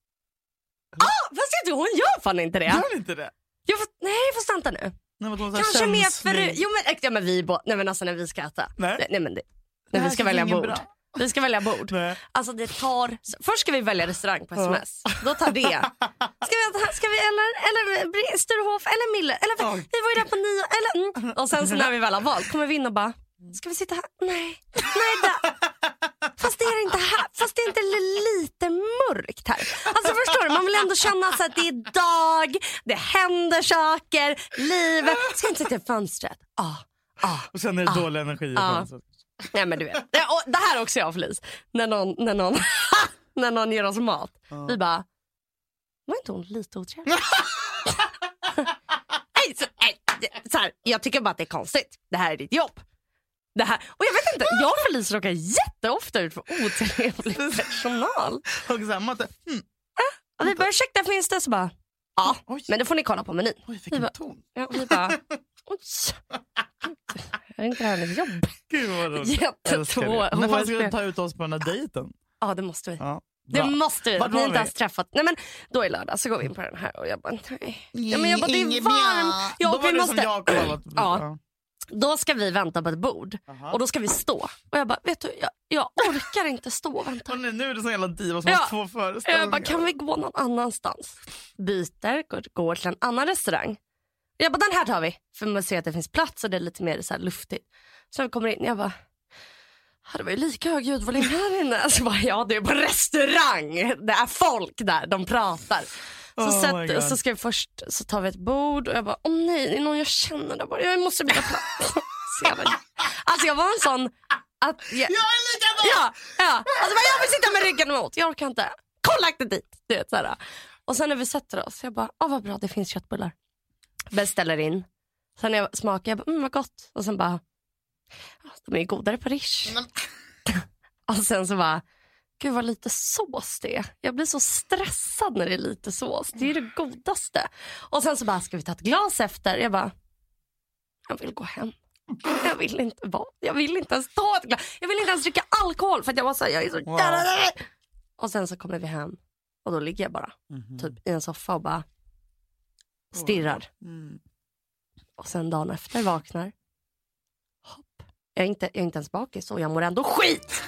[SPEAKER 1] Fast jag tror hon gör fan inte det.
[SPEAKER 2] Gör inte det?
[SPEAKER 1] Jag, får- nej, fast vänta nu.
[SPEAKER 2] Nej, men att hon är så här
[SPEAKER 1] Kanske mer
[SPEAKER 2] känslig.
[SPEAKER 1] förut. Jo men, ja, men vi båda, nej men alltså när vi ska äta.
[SPEAKER 2] Nej.
[SPEAKER 1] Nej, men det,
[SPEAKER 2] Det
[SPEAKER 1] när
[SPEAKER 2] här
[SPEAKER 1] vi ska
[SPEAKER 2] känns
[SPEAKER 1] välja
[SPEAKER 2] ingen
[SPEAKER 1] bord.
[SPEAKER 2] bra.
[SPEAKER 1] Vi ska välja bord.
[SPEAKER 2] Nej.
[SPEAKER 1] Alltså det tar, först ska vi välja restaurang på sms. Då tar det. Ska vi, äta här? ska vi eller, eller Bri- Sturehof eller Miller? Eller
[SPEAKER 2] Ja.
[SPEAKER 1] vi var ju där på nio, eller mm. Och sen så när vi väl har valt kommer vi in och bara, ska vi sitta här? Nej, nej där. Fast det är inte här, fast det är inte lite mörkt här. Alltså förstår du, man vill ändå känna så att det är dag, det händer saker, livet. Ska jag inte sitta i fönstret? Ah, ah.
[SPEAKER 2] Och sen är det dålig energi. i
[SPEAKER 1] Ah.
[SPEAKER 2] fönstret.
[SPEAKER 1] Nej men du vet. Det, och det här också jag och Felice. När någon, när någon, när någon ger oss mat. Vi bara, var inte hon lite otrevlig? nej, så, nej, det- så här, jag tycker bara att det är konstigt. Det här är ditt jobb. Det här. Och jag vet inte, jag och Felice råkar jätteofta ut för otrevlig personal.
[SPEAKER 2] Och så här, man inte- hmm,
[SPEAKER 1] Och vi bara, ursäkta finns det? Så bara, ja
[SPEAKER 2] Oj.
[SPEAKER 1] men det får ni kolla på menyn.
[SPEAKER 2] Oj, vilken ton.
[SPEAKER 1] Ja, och vi bara, oj. Det är inte det här hennes jobb.
[SPEAKER 2] Gud vad roligt.
[SPEAKER 1] Jättetvå-
[SPEAKER 2] Älskar det. När fan ska
[SPEAKER 1] HSB.
[SPEAKER 2] du ta ut oss på den här dejten?
[SPEAKER 1] Ja det måste vi.
[SPEAKER 2] Ja.
[SPEAKER 1] Det
[SPEAKER 2] bra.
[SPEAKER 1] måste vi.
[SPEAKER 2] Vart
[SPEAKER 1] Ni
[SPEAKER 2] var
[SPEAKER 1] har inte
[SPEAKER 2] vi?
[SPEAKER 1] ens träffat. Nej, men då i lördag så går vi in på den här och jag bara, nej. Ja, men jag bara det är
[SPEAKER 2] Inget
[SPEAKER 1] varmt.
[SPEAKER 2] bra.
[SPEAKER 1] Ja,
[SPEAKER 2] Då
[SPEAKER 1] och vi
[SPEAKER 2] var det som
[SPEAKER 1] måste,
[SPEAKER 2] jag kollat.
[SPEAKER 1] Ja. då ska vi vänta på ett bord
[SPEAKER 2] Aha.
[SPEAKER 1] och då ska vi stå. Och jag bara, vet du, jag, jag orkar inte stå och vänta.
[SPEAKER 2] Och nu, nu är det sån jävla diva som
[SPEAKER 1] Ja.
[SPEAKER 2] har två föreställningar.
[SPEAKER 1] Jag bara, kan vi gå någon annanstans? Byter, går, går till en annan restaurang. Jag bara, den här tar vi. För man ser att det finns plats och det är lite mer så här luftigt. Så vi kommer in, jag bara, "Ja, det var ju lika hög ljudvolym här inne. Alltså bara, ja det är på restaurang. Det är folk där, de pratar. Så,
[SPEAKER 2] Oh my God.
[SPEAKER 1] sätt, så ska vi först, så tar vi ett bord och jag bara, åh nej, det är någon jag känner där borta. Jag måste byta plats. Så jag bara- Alltså jag var en sån, att jag,
[SPEAKER 2] Jag är likadan!
[SPEAKER 1] Ja, ja. Alltså, bara, jag vill sitta med ryggen emot. Jag orkar inte. Kolla inte dit. Du vet, så här. Och sen när vi sätter oss, jag bara, åh vad bra, det finns köttbullar. Beställer in. Sen när jag smakar, jag bara, mm vad gott. Och sen bara, "Ja, de är ju godare på Rish.
[SPEAKER 2] Men-
[SPEAKER 1] Och sen så bara, gud vad lite sås det är. Jag blir så stressad när det är lite sås. Det är det godaste. Och sen så bara, ska vi ta ett glas efter? Jag bara, jag vill gå hem. Jag vill inte vara, jag vill inte ens ta ett glas. Jag vill inte ens dricka alkohol för att jag var så här, jag är så
[SPEAKER 2] Wow.
[SPEAKER 1] jävla... Och sen så kommer vi hem och då ligger jag bara typ i en soffa och bara stirrar.
[SPEAKER 2] Mm.
[SPEAKER 1] Och sen dagen efter vaknar. Hopp. Jag är inte, jag är inte ens bakis och jag mår ändå skit.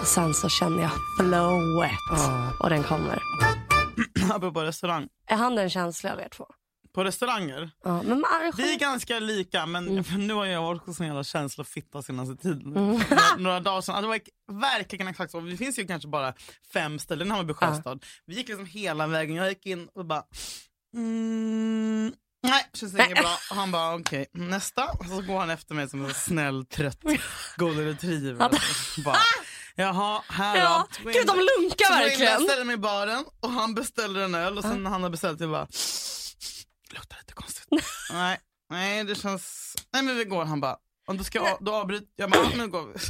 [SPEAKER 1] Och sen så känner jag flowet och den kommer.
[SPEAKER 2] Apropå restaurang.
[SPEAKER 1] Är han den känsliga av er två?
[SPEAKER 2] På restauranger.
[SPEAKER 1] Ja, men man,
[SPEAKER 2] Vi är ganska lika men för
[SPEAKER 1] Mm.
[SPEAKER 2] nu har jag varit hos en jävla känslofitta senaste tiden. Några dagar sedan. Alltså, det var verkligen exakt så. Det finns ju kanske bara fem ställen i Hammarby sjöstad. Vi gick liksom hela vägen. Jag gick in och bara... Mm, nej, känns inget bra. Och han bara okej, nästa. Och så går han efter mig som en snäll trött golden retriever. Och bara, Jaha, här
[SPEAKER 1] Ah! ja,
[SPEAKER 2] då.
[SPEAKER 1] gud de lunkar
[SPEAKER 2] Så går jag in där,
[SPEAKER 1] verkligen.
[SPEAKER 2] ställer mig i baren och han beställer en öl och sen när han har beställt jag bara luktar lite konstigt. nej, nej det känns, nej men vi går han bara och då ska jag, då avbryter jag bara, men går vi.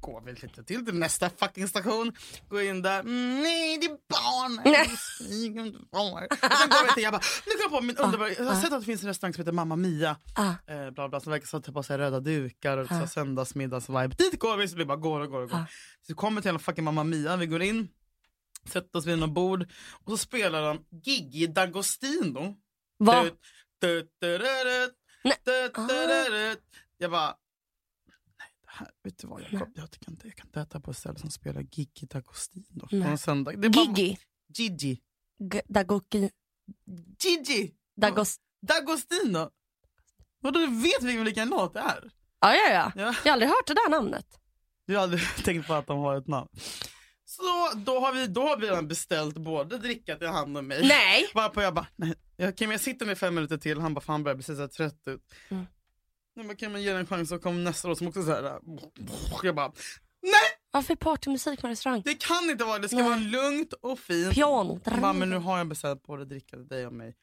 [SPEAKER 2] Går vi lite till till nästa fucking station. Går in där. "Mm, Nej, det är barn. Det är smyg- barn." Och Sen går vi till, jag bara, nu kommer jag på min underbara... Jag har sett att det finns en restaurang som heter Mamma Mia.
[SPEAKER 1] Ah.
[SPEAKER 2] Eh, bla bla, som verkar så ta på sig röda dukar och ah. söndagsmiddagsvibe. Dit går vi, så vi bara går och går och går.
[SPEAKER 1] Ah.
[SPEAKER 2] Så vi kommer till en fucking Mamma Mia, vi går in, sätter oss vid något bord och så spelar de Gigi D'Agostino.
[SPEAKER 1] Va?
[SPEAKER 2] Tut, tut, tururut,
[SPEAKER 1] Nej. Ah.
[SPEAKER 2] tut, tururut. Jag bara, nej det här, vet du vad Jakob, jag tycker inte jag kan inte äta på ett ställe som spelar Gigi D'Agostino på en söndag. Det är bara-
[SPEAKER 1] Gigi.
[SPEAKER 2] Gigi.
[SPEAKER 1] G- Dagoki.
[SPEAKER 2] Gigi.
[SPEAKER 1] Dagos.
[SPEAKER 2] D'Agostino. Vadå, du vet vilken, vilken låt det är?
[SPEAKER 1] Ja, ja, ja.
[SPEAKER 2] Ja.
[SPEAKER 1] Jag har aldrig hört det där namnet.
[SPEAKER 2] Du har aldrig tänkt på att de har ett namn. Så då har vi, då har vi redan beställt både dricka till han och mig.
[SPEAKER 1] Nej.
[SPEAKER 2] Varpå jag bara, nej, jag, Kim jag sitter med fem minuter till. Han bara, fan börjar bli så här trött ut.
[SPEAKER 1] Mm.
[SPEAKER 2] Nej, men kan man ge den en chans och kom nästa år som också så här. Jag bara, nej
[SPEAKER 1] Varför partymusik på restaurang?
[SPEAKER 2] det kan inte vara det. Det ska
[SPEAKER 1] Nej.
[SPEAKER 2] vara lugnt och fint.
[SPEAKER 1] Piano.
[SPEAKER 2] Jag bara, men nu har jag beställt både dricka till dig och mig.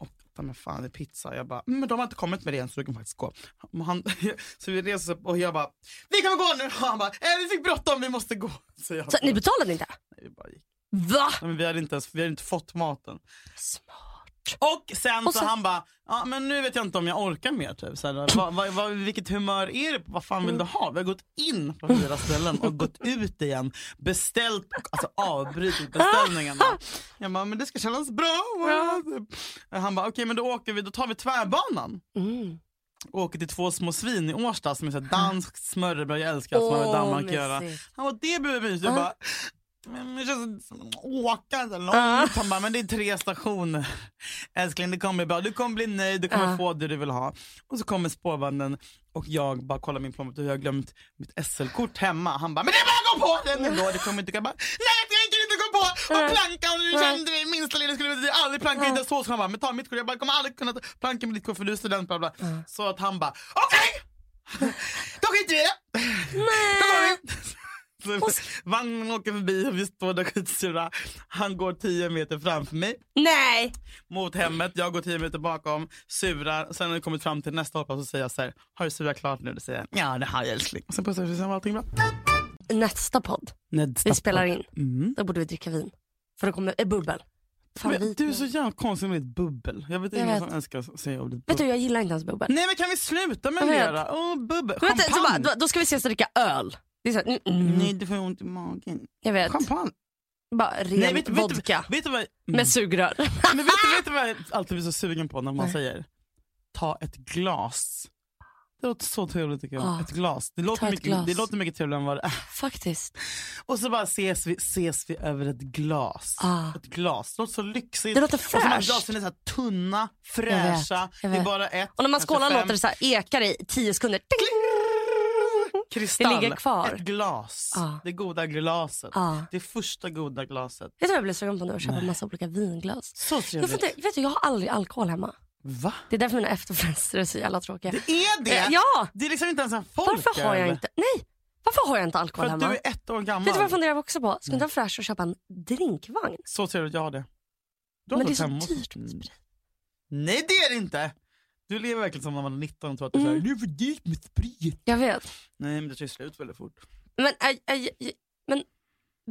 [SPEAKER 2] Och ta mig fan det är pizza. Jag bara, "Mm, men de har inte kommit med det än så du kan faktiskt gå. Och Han, så vi reser upp och jag bara, vi kan väl gå nu? Och han bara, eh, vi fick bråttom, vi måste gå. Så jag
[SPEAKER 1] Så,
[SPEAKER 2] bara,
[SPEAKER 1] ni betalade inte?
[SPEAKER 2] nej, vi bara gick.
[SPEAKER 1] Va?
[SPEAKER 2] Nej, men vi, hade inte ens, vi hade inte fått maten.
[SPEAKER 1] Smart.
[SPEAKER 2] Och sen
[SPEAKER 1] Och
[SPEAKER 2] så
[SPEAKER 1] sen-
[SPEAKER 2] han bara, ja, men nu vet jag inte om jag orkar mer. Typ. Så här, vad- vad- vad- vilket humör är det? Vad fan
[SPEAKER 1] Mm.
[SPEAKER 2] vill du ha? Vi har gått in på fyra ställen och gått ut igen. Beställt, alltså avbrutit beställningarna. Jag bara, men det ska kännas bra. Typ. Han bara, okej men då åker vi, då tar vi tvärbanan.
[SPEAKER 1] Mm.
[SPEAKER 2] Och åker till två små svin i Årsta som är så här dansk smörrebröd. Jag älskar allt som har med
[SPEAKER 1] Åh,
[SPEAKER 2] Danmark att göra.
[SPEAKER 1] mysigt. Ah.
[SPEAKER 2] Han bara, det blir mysigt. Jag
[SPEAKER 1] Ja.
[SPEAKER 2] bara, men det känns som att åka så långt.
[SPEAKER 1] Ja.
[SPEAKER 2] Han bara, men det är tre stationer. Älskling, det kommer bli bra. Du kommer bli nöjd, du kommer
[SPEAKER 1] Ja.
[SPEAKER 2] få det du vill ha. Och så kommer spårvagnen och jag bara kollar min plånbok och jag har glömt mitt SL-kort hemma. Han bara, men det är bara att gå på den ändå. Det kommer inte gå. Jag bara, nej jag tänker inte gå på.
[SPEAKER 1] Ah.
[SPEAKER 2] Och plankan, om du kände mig minsta lilla skulle jag aldrig planka. Inte så. Så han bara, men ta mitt kort. Jag bara, kommer aldrig kunna ta planka med ditt kort för du är student. Bla, bla. Så att han bara, okej! Då skiter vi i det. Då går vi. Så vagnen åker förbi och vi står där skitsura. Han går 10 meter framför mig
[SPEAKER 1] Nej.
[SPEAKER 2] mot hemmet. Jag går 10 meter bakom, surar. Sen när vi kommit fram till nästa hållplats så säger jag så här, har du surat klart nu? Det säger jag, ja det har jag älskling. Och sen pussar vi, sen var allting bra.
[SPEAKER 1] Nästa podd vi spelar in,
[SPEAKER 2] Mm.
[SPEAKER 1] då borde vi dricka vin. För då kommer äh, bubbel. Fan,
[SPEAKER 2] Men,
[SPEAKER 1] vit
[SPEAKER 2] du är
[SPEAKER 1] nu.
[SPEAKER 2] så jävla konstig med ditt bubbel. Jag vet
[SPEAKER 1] Jag
[SPEAKER 2] ingen
[SPEAKER 1] vet.
[SPEAKER 2] som älskar säga ordet
[SPEAKER 1] Vet du,
[SPEAKER 2] bubbel.
[SPEAKER 1] jag gillar inte ens bubbel.
[SPEAKER 2] Nej men kan vi sluta med
[SPEAKER 1] Jag vet.
[SPEAKER 2] det? då? Åh bubbel,
[SPEAKER 1] Men vänta, så bara,
[SPEAKER 2] champagne.
[SPEAKER 1] då, då ska vi ses och dricka öl. Det är så här, mm, mm,
[SPEAKER 2] Nej du får ju ont i magen.
[SPEAKER 1] jag vet.
[SPEAKER 2] Champagne.
[SPEAKER 1] Bara ren
[SPEAKER 2] Nej, vet, vet,
[SPEAKER 1] vodka
[SPEAKER 2] Äh, Vet, vet du vad, Mm.
[SPEAKER 1] med sugrör.
[SPEAKER 2] Men vet, du- vet du vad jag alltid blir så sugen på när man
[SPEAKER 1] Nej.
[SPEAKER 2] säger ta ett glas? Det låter så trevligt tycker jag.
[SPEAKER 1] Ja.
[SPEAKER 2] Ett glas. Det
[SPEAKER 1] Ah. Ta
[SPEAKER 2] låter,
[SPEAKER 1] ett
[SPEAKER 2] mycket,
[SPEAKER 1] glas.
[SPEAKER 2] det låter mycket trevligare än vad det är.
[SPEAKER 1] Faktiskt.
[SPEAKER 2] Och så bara ses vi, ses vi över ett glas.
[SPEAKER 1] Ah.
[SPEAKER 2] Ett glas. Det låter så lyxigt.
[SPEAKER 1] Det låter
[SPEAKER 2] Och så de här
[SPEAKER 1] fräscht.
[SPEAKER 2] glasen är så här tunna,
[SPEAKER 1] Jag
[SPEAKER 2] fräscha.
[SPEAKER 1] vet, jag
[SPEAKER 2] Det är
[SPEAKER 1] vet.
[SPEAKER 2] bara ett.
[SPEAKER 1] Och när man
[SPEAKER 2] kanske
[SPEAKER 1] skålar
[SPEAKER 2] Alltså, fem.
[SPEAKER 1] låter det så här, ekar i tio sekunder. Ding!
[SPEAKER 2] Kristall.
[SPEAKER 1] ligger kvar. Ah.
[SPEAKER 2] Ett glas.
[SPEAKER 1] Ja.
[SPEAKER 2] Det goda glaset.
[SPEAKER 1] Ja.
[SPEAKER 2] Det första goda glaset.
[SPEAKER 1] Vet du vad jag blev sugen på nu? Att köpa massa olika vinglas.
[SPEAKER 2] Så
[SPEAKER 1] Jag, får
[SPEAKER 2] trevligt.
[SPEAKER 1] inte, vet du, jag har aldrig alkohol hemma.
[SPEAKER 2] Va?
[SPEAKER 1] Det är därför mina efterfester är så jävla tråkiga.
[SPEAKER 2] Det är det?
[SPEAKER 1] Eh, Ja!
[SPEAKER 2] Det är liksom inte ens en folk
[SPEAKER 1] Varför har jag
[SPEAKER 2] över.
[SPEAKER 1] inte, nej, varför har jag inte alkohol
[SPEAKER 2] För att du
[SPEAKER 1] hemma?
[SPEAKER 2] är ett år gammal.
[SPEAKER 1] Vet du vad jag funderar också på? Skulle inte det vara fräscht att köpa en drinkvagn?
[SPEAKER 2] Så trevligt, jag har det. Du har
[SPEAKER 1] Men det är
[SPEAKER 2] fått
[SPEAKER 1] så
[SPEAKER 2] hemma hos- Mm.
[SPEAKER 1] dyrt med sprit.
[SPEAKER 2] Nej det är det inte! Du lever verkligen som när man är 19 och tror att det är,
[SPEAKER 1] Mm.
[SPEAKER 2] såhär, det är för dyrt med sprit.
[SPEAKER 1] Jag vet.
[SPEAKER 2] Nej men det tar ju slut väldigt fort.
[SPEAKER 1] Men, äh, aj, aj, aj, men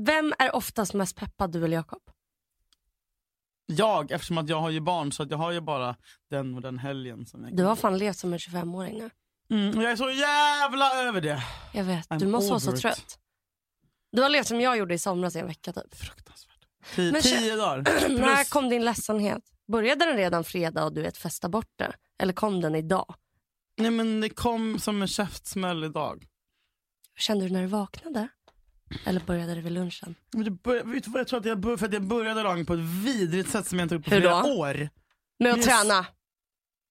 [SPEAKER 1] vem är oftast mest peppad, du eller Jakob?
[SPEAKER 2] Jag, eftersom att jag har ju barn så att jag har ju bara den och den helgen. Som jag,
[SPEAKER 1] Du har fan levt som en 25-åring nu.
[SPEAKER 2] mm, och jag är så jävla över det.
[SPEAKER 1] Jag vet, du
[SPEAKER 2] I'm
[SPEAKER 1] måste vara
[SPEAKER 2] over
[SPEAKER 1] så
[SPEAKER 2] it.
[SPEAKER 1] trött. Du har levt som jag gjorde i somras i en vecka typ.
[SPEAKER 2] Fruktansvärt. Tio,
[SPEAKER 1] Men
[SPEAKER 2] tio dagar.
[SPEAKER 1] När
[SPEAKER 2] Plus,
[SPEAKER 1] kom din ledsamhet? Började den redan fredag och du vet festa bort det? Eller kom den idag?
[SPEAKER 2] nej men det kom som en käftsmäll idag.
[SPEAKER 1] Kände du när du vaknade? Eller började det vid lunchen?
[SPEAKER 2] Men det började, vet du vad jag tror att jag började, för att jag började dagen på ett vidrigt sätt som jag inte gjort på
[SPEAKER 1] Hur
[SPEAKER 2] flera
[SPEAKER 1] då?
[SPEAKER 2] år.
[SPEAKER 1] Med att
[SPEAKER 2] Yes.
[SPEAKER 1] träna?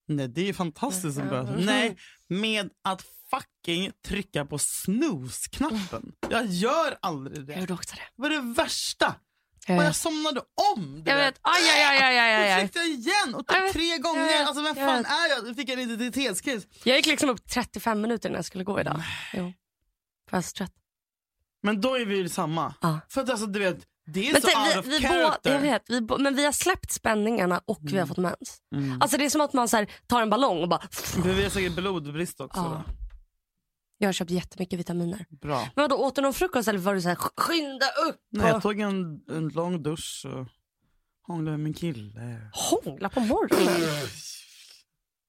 [SPEAKER 2] Nej, det är ju fantastiskt som
[SPEAKER 1] Mm.
[SPEAKER 2] börjar. Nej, med att fucking trycka på snooze-knappen. Jag gör aldrig
[SPEAKER 1] Jag
[SPEAKER 2] det.
[SPEAKER 1] gjorde också det.
[SPEAKER 2] Det var det värsta.
[SPEAKER 1] Jag
[SPEAKER 2] Och
[SPEAKER 1] vet.
[SPEAKER 2] jag somnade om. Det
[SPEAKER 1] Jag vet. Aj, aj, aj, aj, aj,
[SPEAKER 2] Och
[SPEAKER 1] aj.
[SPEAKER 2] tryckte jag igen och
[SPEAKER 1] Jag
[SPEAKER 2] typ
[SPEAKER 1] vet,
[SPEAKER 2] tre
[SPEAKER 1] jag
[SPEAKER 2] gånger.
[SPEAKER 1] vet,
[SPEAKER 2] Alltså
[SPEAKER 1] jag
[SPEAKER 2] vem fan
[SPEAKER 1] vet.
[SPEAKER 2] är jag? Jag fick en identitetskris.
[SPEAKER 1] Jag gick liksom upp 35 minuter när jag skulle gå idag. Jo. För jag var så trött.
[SPEAKER 2] Men då är vi ju samma.
[SPEAKER 1] Ja.
[SPEAKER 2] För att alltså du vet, det är
[SPEAKER 1] Men
[SPEAKER 2] så
[SPEAKER 1] tänk,
[SPEAKER 2] out of
[SPEAKER 1] vi, vi, båda,
[SPEAKER 2] character.
[SPEAKER 1] jag vet, vi, bo- men vi har släppt spänningarna och vi har fått mens.
[SPEAKER 2] Mm.
[SPEAKER 1] Alltså det är som att man så här, tar en ballong och bara...
[SPEAKER 2] Men vi har säkert blodbrist också.
[SPEAKER 1] Ja.
[SPEAKER 2] då.
[SPEAKER 1] Jag har köpt jättemycket vitaminer.
[SPEAKER 2] Bra.
[SPEAKER 1] Men då åt du någon frukost eller var du så här, "Sk- skynda upp
[SPEAKER 2] Nej, jag
[SPEAKER 1] och
[SPEAKER 2] tog en, en lång dusch och hånglade med min kille.
[SPEAKER 1] hångla på morgonen?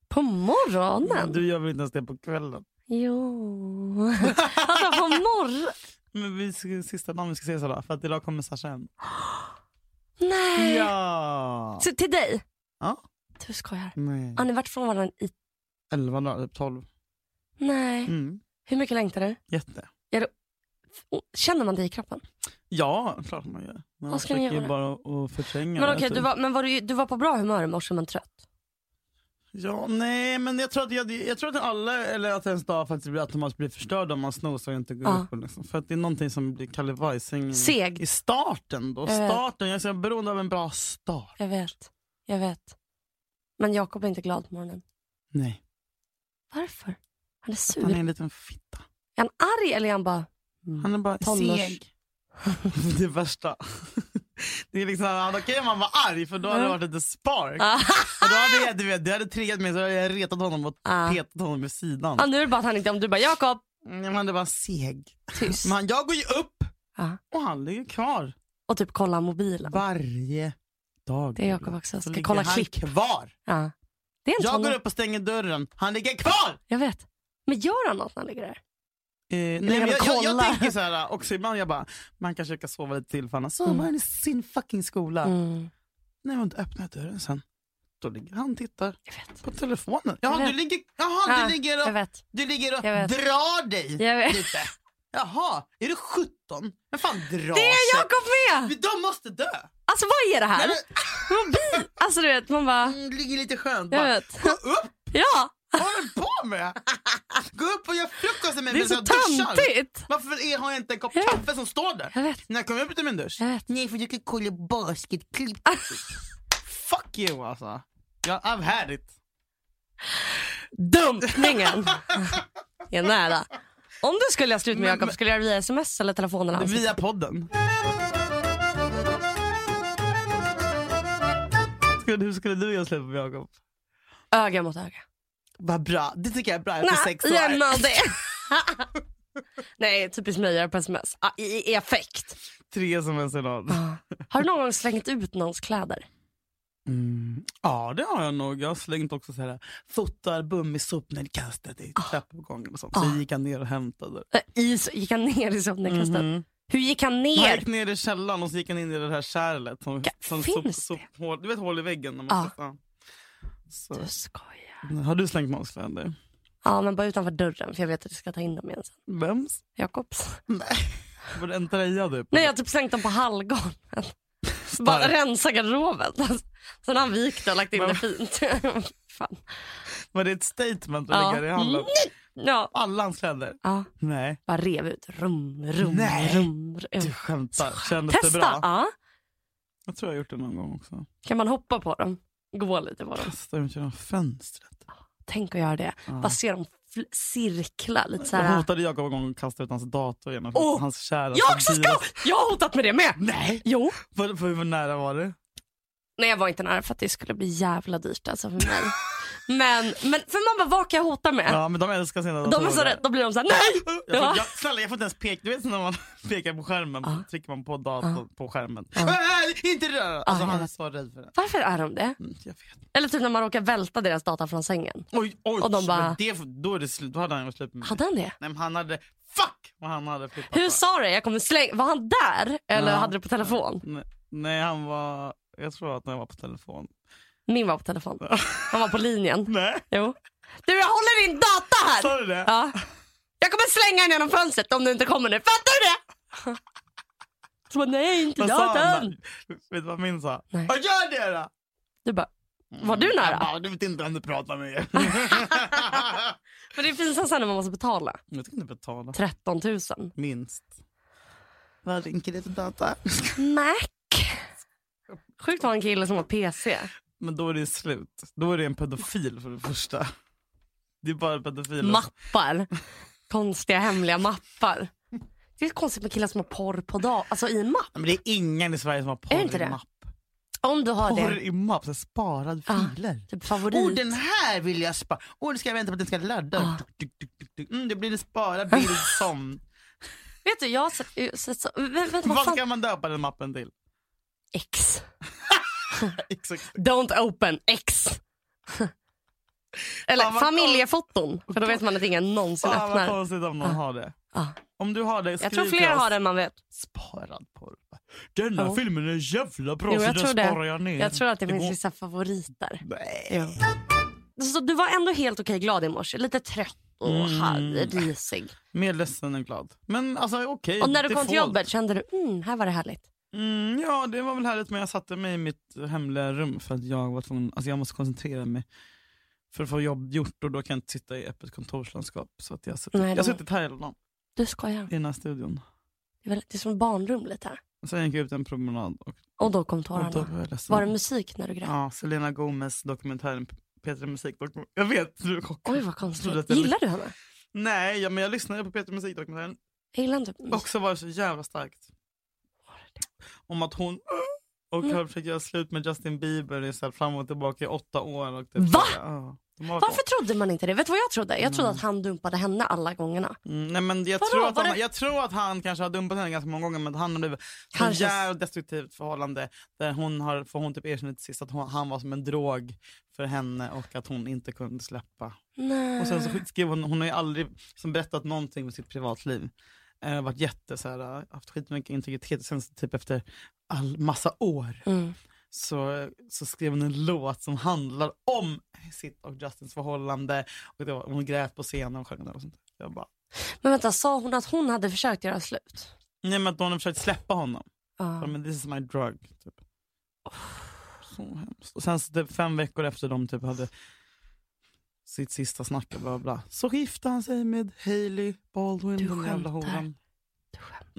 [SPEAKER 1] På morgonen?
[SPEAKER 2] Mm, Du gör väl inte ens det på kvällen?
[SPEAKER 1] Jo. Alltså på morgonen?
[SPEAKER 2] Men vi ska, sista dagen vi ska ses idag, för att idag kommer Sasha hem.
[SPEAKER 1] Nej.
[SPEAKER 2] Ja!
[SPEAKER 1] Så, till dig?
[SPEAKER 2] Ja.
[SPEAKER 1] Du skojar.
[SPEAKER 2] Nej.
[SPEAKER 1] Har ni varit från varandra i...
[SPEAKER 2] 11 dagar, typ 12.
[SPEAKER 1] Nej.
[SPEAKER 2] Mm.
[SPEAKER 1] Hur mycket längtar du?
[SPEAKER 2] Jätte.
[SPEAKER 1] Och Känner man det i kroppen?
[SPEAKER 2] Ja, klart man gör. Men man
[SPEAKER 1] ska ni
[SPEAKER 2] försöker ju
[SPEAKER 1] göra?
[SPEAKER 2] bara att- att förtränga
[SPEAKER 1] Men
[SPEAKER 2] det,
[SPEAKER 1] okej,
[SPEAKER 2] typ.
[SPEAKER 1] du var, men var du, du var på bra humör i morse men trött?
[SPEAKER 2] Ja, nej, men jag tror att, jag, jag tror att alla, eller att ens dag faktiskt blir automatiskt blir förstörd om man snosar och inte går
[SPEAKER 1] Ja.
[SPEAKER 2] upp. och Liksom. För att det är någonting som blir kalabajsing i-
[SPEAKER 1] Seg. Eh.
[SPEAKER 2] i starten. Då.
[SPEAKER 1] Jag vet.
[SPEAKER 2] Starten, jag är så beroende av en bra start.
[SPEAKER 1] Jag vet, jag vet. Men Jakob är inte glad på morgonen.
[SPEAKER 2] Nej,
[SPEAKER 1] Varför? Han är sur.
[SPEAKER 2] han är
[SPEAKER 1] Är
[SPEAKER 2] en liten fitta.
[SPEAKER 1] han arg eller är han bara...
[SPEAKER 2] Han är bara
[SPEAKER 1] Tonårs.
[SPEAKER 2] seg. det värsta. Det är liksom, han- okej om han var arg för då hade det varit lite spark.
[SPEAKER 1] Ah,
[SPEAKER 2] Och då hade jag, du vet, det hade triggat mig så hade jag retat honom och
[SPEAKER 1] Ah.
[SPEAKER 2] petat honom vid sidan.
[SPEAKER 1] ah, nu är det bara att han inte... Om du bara Jakob,
[SPEAKER 2] Mm, Men han är bara seg.
[SPEAKER 1] tyst.
[SPEAKER 2] Men han, jag går ju upp
[SPEAKER 1] Ja.
[SPEAKER 2] och han ligger kvar.
[SPEAKER 1] Och typ kolla mobilen.
[SPEAKER 2] Varje dag.
[SPEAKER 1] Det är Jakob också.
[SPEAKER 2] Så
[SPEAKER 1] Ska
[SPEAKER 2] ligger
[SPEAKER 1] kolla
[SPEAKER 2] han
[SPEAKER 1] klipp.
[SPEAKER 2] kvar.
[SPEAKER 1] Ja. Det är en
[SPEAKER 2] Jag
[SPEAKER 1] tonåring.
[SPEAKER 2] går upp och stänger dörren. Han ligger kvar!
[SPEAKER 1] Jag vet. Men gör han något när han ligger där?
[SPEAKER 2] Eh, nej, men
[SPEAKER 1] ligger
[SPEAKER 2] jag,
[SPEAKER 1] och
[SPEAKER 2] jag, jag
[SPEAKER 1] kollar.
[SPEAKER 2] tänker så här också ibland. Jag bara, man kanske kan sova lite till för han har sovit i sin fucking skola.
[SPEAKER 1] Mm.
[SPEAKER 2] Nej, men då öppnar jag dörren sen. Då ligger han och tittar
[SPEAKER 1] Jag vet.
[SPEAKER 2] på telefonen.
[SPEAKER 1] Jag
[SPEAKER 2] Jaha,
[SPEAKER 1] vet.
[SPEAKER 2] du ligger, jaha
[SPEAKER 1] Ja,
[SPEAKER 2] du ligger
[SPEAKER 1] Jag
[SPEAKER 2] och,
[SPEAKER 1] vet.
[SPEAKER 2] du ligger och
[SPEAKER 1] Jag vet.
[SPEAKER 2] drar dig
[SPEAKER 1] Jag vet.
[SPEAKER 2] lite. Jaha, är du 17? Men fan drar
[SPEAKER 1] Det är
[SPEAKER 2] sig.
[SPEAKER 1] Jakob med!
[SPEAKER 2] De måste dö.
[SPEAKER 1] Alltså vad är det här?
[SPEAKER 2] Nej,
[SPEAKER 1] Mobil! Alltså du vet, man bara...
[SPEAKER 2] men, ligger lite skönt
[SPEAKER 1] Jag
[SPEAKER 2] bara.
[SPEAKER 1] vet.
[SPEAKER 2] Gå upp,
[SPEAKER 1] Ja,
[SPEAKER 2] vad håller du på med? Gå upp och gör frukost med mig
[SPEAKER 1] det är
[SPEAKER 2] medan
[SPEAKER 1] så
[SPEAKER 2] jag duschar.
[SPEAKER 1] töntigt.
[SPEAKER 2] Varför är- har jag inte en kopp
[SPEAKER 1] Jag vet.
[SPEAKER 2] kaffe som står där?
[SPEAKER 1] Jag vet.
[SPEAKER 2] När jag kommer upp ur min dusch?
[SPEAKER 1] Jag vet. Ah.
[SPEAKER 2] Nej, för jag kan kolla basketklipp. Fuck you alltså. Jag I've had it.
[SPEAKER 1] Dumpningen är nära. Om du skulle göra slut med Jakob, skulle du göra det via sms eller telefonen? Alltså?
[SPEAKER 2] Via podden. Skulle- Hur skulle du göra slut med Jakob?
[SPEAKER 1] Öga mot öga.
[SPEAKER 2] Vad bra. Det tycker jag är bra efter
[SPEAKER 1] Nej,
[SPEAKER 2] sex år.
[SPEAKER 1] lämna det. Nej, typiskt mig att göra på sms. Ah, i, I effekt.
[SPEAKER 2] Tre som en rad.
[SPEAKER 1] Ah. Har du någon gång slängt ut någons kläder?
[SPEAKER 2] Mm. Ja, det har jag nog. Jag har slängt också så här eh, fotoalbum i sopnedkastet i trappuppgången och sånt. Så
[SPEAKER 1] Ah.
[SPEAKER 2] gick han ner och hämtade.
[SPEAKER 1] Eh, I, so- gick han ner i sopnedkastet?
[SPEAKER 2] Mhm.
[SPEAKER 1] Hur gick han
[SPEAKER 2] Han
[SPEAKER 1] ner?
[SPEAKER 2] gick ner i källaren och så gick han in i det här kärlet. Som,
[SPEAKER 1] Ka-
[SPEAKER 2] som
[SPEAKER 1] finns
[SPEAKER 2] sop,
[SPEAKER 1] det? Ah.
[SPEAKER 2] sophål, du vet hål i väggen. När man
[SPEAKER 1] Ja.
[SPEAKER 2] sätter- ja. Så. eh,
[SPEAKER 1] Du skojar.
[SPEAKER 2] Har du slängt någons kläder?
[SPEAKER 1] Ja, men bara utanför dörren för jag vet att du ska ta in dem igen sen.
[SPEAKER 2] Vems?
[SPEAKER 1] Jakobs.
[SPEAKER 2] Mm. Var det en tröja du?
[SPEAKER 1] Nej, jag har typ slängt dem på hallgolvet. Bara rensa garderoben. Sen har han vikt det och lagt in det fint. Fan.
[SPEAKER 2] Var det ett statement att
[SPEAKER 1] Ja.
[SPEAKER 2] lägga det i handen?
[SPEAKER 1] Ja.
[SPEAKER 2] Alla hans kläder?
[SPEAKER 1] ja,
[SPEAKER 2] Nej,
[SPEAKER 1] bara rev ut. Rum, rum,
[SPEAKER 2] Nej.
[SPEAKER 1] rum. rum.
[SPEAKER 2] du skämtar. Kändes det
[SPEAKER 1] Testa.
[SPEAKER 2] bra?
[SPEAKER 1] Ja.
[SPEAKER 2] Jag tror jag har gjort det någon gång också.
[SPEAKER 1] Kan man hoppa på dem? Gå lite på dem.
[SPEAKER 2] Kastade dem genom fönstret.
[SPEAKER 1] Tänk att göra det. Bara se dem fl- cirkla lite så
[SPEAKER 2] Jag
[SPEAKER 1] här.
[SPEAKER 2] hotade Jakob en gång att kasta ut hans dator genom
[SPEAKER 1] Åh,
[SPEAKER 2] hans kära.
[SPEAKER 1] Jag, också ska... jag har hotat med det med.
[SPEAKER 2] Nej!
[SPEAKER 1] Jo.
[SPEAKER 2] För, för hur nära var det?
[SPEAKER 1] Nej, jag var inte nära för att det skulle bli jävla dyrt alltså för mig. men, men för man bara, vad kan jag hota med?
[SPEAKER 2] Ja, men de älskar sina datorer.
[SPEAKER 1] De är så rädda, då blir de så här, nej!
[SPEAKER 2] Jag
[SPEAKER 1] Ja.
[SPEAKER 2] får, jag, snälla, jag får inte ens peka. Du vet när man pekar på skärmen,
[SPEAKER 1] Ja.
[SPEAKER 2] trycker man på datorn på skärmen.
[SPEAKER 1] Ja.
[SPEAKER 2] Äh, inte röra! Alltså,
[SPEAKER 1] jag
[SPEAKER 2] han är
[SPEAKER 1] vet.
[SPEAKER 2] så rädd för det.
[SPEAKER 1] Varför är de det?
[SPEAKER 2] Mm, Jag vet.
[SPEAKER 1] Eller typ när man råkar välta deras data från sängen.
[SPEAKER 2] Oj, oj!
[SPEAKER 1] Och de bara-
[SPEAKER 2] men det, då, är det slut. då hade han gjort slut med mig.
[SPEAKER 1] Hade han det?
[SPEAKER 2] Nej, men han hade... Fuck vad han hade flippat.
[SPEAKER 1] Hur
[SPEAKER 2] va?
[SPEAKER 1] sa du? Jag kommer slänga. Var han där eller
[SPEAKER 2] Ja.
[SPEAKER 1] hade du på telefon?
[SPEAKER 2] Nej, nej, han var... Jag tror att han var på telefon.
[SPEAKER 1] Min var på telefon. Han var på linjen.
[SPEAKER 2] Nej,
[SPEAKER 1] Jo. Du, jag håller din data
[SPEAKER 2] sa
[SPEAKER 1] här!
[SPEAKER 2] du det?
[SPEAKER 1] Äh, Ja. Jag kommer slänga den genom fönstret om du inte kommer nu. Fattar du det? Så bara, nej, inte
[SPEAKER 2] Vad sa han?
[SPEAKER 1] datan.
[SPEAKER 2] då? Vet du vad min sa?
[SPEAKER 1] Nej.
[SPEAKER 2] Vad gör det då?
[SPEAKER 1] Du bara, var du
[SPEAKER 2] Mm, Jag
[SPEAKER 1] nära?
[SPEAKER 2] bara, du vet inte vem du pratar med.
[SPEAKER 1] Men det är pinsamt sen när man måste betala.
[SPEAKER 2] jag ska inte betala.
[SPEAKER 1] 13 000.
[SPEAKER 2] Minst. Vad ringer det till data?
[SPEAKER 1] Mac. Sjukt var en kille som har PC.
[SPEAKER 2] Men då är det slut. Då är det en pedofil för det första. Det är bara pedofiler.
[SPEAKER 1] mappar. Konstiga hemliga mappar. Det är konstigt med killar som har porr på dag, alltså i en mapp.
[SPEAKER 2] Nej, men det är ingen i Sverige som har porr
[SPEAKER 1] det inte
[SPEAKER 2] i
[SPEAKER 1] det?
[SPEAKER 2] mapp.
[SPEAKER 1] Om du har
[SPEAKER 2] Porr
[SPEAKER 1] det,
[SPEAKER 2] i mapp, så här sparad
[SPEAKER 1] Ah,
[SPEAKER 2] filer.
[SPEAKER 1] typ favorit.
[SPEAKER 2] Åh, den här vill jag spara. Åh, nu ska jag vänta på att den ska ladda.
[SPEAKER 1] Ah.
[SPEAKER 2] Tuk, tuk, tuk, tuk. Mm, det blir en sparad bild som.
[SPEAKER 1] Vet du, jag har sett- jag har sett... så- Vä- vänta, vad
[SPEAKER 2] Vad
[SPEAKER 1] fan?
[SPEAKER 2] ska man döpa den mappen till?
[SPEAKER 1] X.
[SPEAKER 2] Exakt.
[SPEAKER 1] Don't open X. Eller
[SPEAKER 2] Fan, vad-
[SPEAKER 1] familjefoton, för då vet man att ingen någonsin
[SPEAKER 2] Fan Ah, vad
[SPEAKER 1] öppnar.
[SPEAKER 2] konstigt om någon
[SPEAKER 1] Ah.
[SPEAKER 2] har det.
[SPEAKER 1] Ah.
[SPEAKER 2] Om du har det, skriv
[SPEAKER 1] Jag tror
[SPEAKER 2] till
[SPEAKER 1] fler
[SPEAKER 2] oss.
[SPEAKER 1] har det än man vet.
[SPEAKER 2] Sparad porr. Den här
[SPEAKER 1] Jo.
[SPEAKER 2] filmen är jävla bra
[SPEAKER 1] Jo,
[SPEAKER 2] så
[SPEAKER 1] jag
[SPEAKER 2] den
[SPEAKER 1] tror det.
[SPEAKER 2] sparar jag ner.
[SPEAKER 1] Jag tror att det
[SPEAKER 2] går-
[SPEAKER 1] finns vissa favoriter.
[SPEAKER 2] Nej.
[SPEAKER 1] Så du var ändå helt okej glad i morse. Lite trött och
[SPEAKER 2] Mm. Äh,
[SPEAKER 1] harrig, risig.
[SPEAKER 2] Mer ledsen än glad. Men alltså okej.
[SPEAKER 1] Och när du
[SPEAKER 2] det
[SPEAKER 1] kom till
[SPEAKER 2] får-
[SPEAKER 1] jobbet kände du, mm, här var det härligt.
[SPEAKER 2] Mm, ja, det var väl härligt men jag satte mig i mitt hemliga rum för att jag var tvungen, alltså jag måste koncentrera mig. för att få jobb gjort och då kan jag inte sitta i öppet kontorslandskap. Så att jag har suttit,
[SPEAKER 1] Nej,
[SPEAKER 2] jag
[SPEAKER 1] då-
[SPEAKER 2] har suttit här hela dagen
[SPEAKER 1] Du skojar.
[SPEAKER 2] i den här studion.
[SPEAKER 1] Det är, väl, det är som barnrum lite här.
[SPEAKER 2] Sen gick jag ut en promenad och,
[SPEAKER 1] Och då kom
[SPEAKER 2] och då
[SPEAKER 1] tårarna.
[SPEAKER 2] var jag ledsen.
[SPEAKER 1] Var det musik när du grät?
[SPEAKER 2] Ja, Selena Gomez dokumentären P3 Musikdokumentären. Jag vet, du är chockad.
[SPEAKER 1] Oj vad
[SPEAKER 2] Jag trodde
[SPEAKER 1] konstigt.
[SPEAKER 2] att jag-
[SPEAKER 1] Gillar du henne?
[SPEAKER 2] Nej, ja, men jag lyssnade på P3 Musikdokumentären
[SPEAKER 1] Jag gillar inte musik.
[SPEAKER 2] Också var det så jävla starkt. Om att hon och
[SPEAKER 1] Mm.
[SPEAKER 2] Carl försöker göra slut med Justin Bieber i så här fram och tillbaka i åtta år. Och typ
[SPEAKER 1] Va?
[SPEAKER 2] så här, ja. De har-
[SPEAKER 1] Varför trodde man inte det? Vet du vad jag trodde? Jag trodde
[SPEAKER 2] Mm.
[SPEAKER 1] att han dumpade henne alla gångerna.
[SPEAKER 2] Mm, nej, men jag,
[SPEAKER 1] Vadå,
[SPEAKER 2] tror att
[SPEAKER 1] var
[SPEAKER 2] han,
[SPEAKER 1] det-
[SPEAKER 2] jag tror att han kanske har dumpat henne ganska många gånger men att han har blivit ett
[SPEAKER 1] Kanske.
[SPEAKER 2] jävligt destruktivt förhållande. Där hon har, för hon typ erkände till sist att hon, han var som en drog för henne och att hon inte kunde släppa.
[SPEAKER 1] Nej.
[SPEAKER 2] Och sen så skrev hon, hon har ju aldrig som berättat någonting om sitt privatliv. Eh, varit jätte så här, haft skitmycket integritet. Sen så typ efter all, massa år
[SPEAKER 1] Mm.
[SPEAKER 2] så, så skrev hon en låt som handlar om sitt och Justins förhållande. Och det var, hon grät på scenen och sjöng den och sånt. Jag bara,
[SPEAKER 1] Men vänta, sa hon att hon hade försökt göra slut?
[SPEAKER 2] nej men att hon har försökt släppa honom.
[SPEAKER 1] Ja.
[SPEAKER 2] Ja, men this is my drug. Typ. Så hemskt. Och sen så typ fem veckor efter de typ hade sitt sista snack och bla bla, bla. Så gifte han sig med Hailey Baldwin,
[SPEAKER 1] Du
[SPEAKER 2] den jävla
[SPEAKER 1] skämtar.
[SPEAKER 2] horan.
[SPEAKER 1] Du skämtar.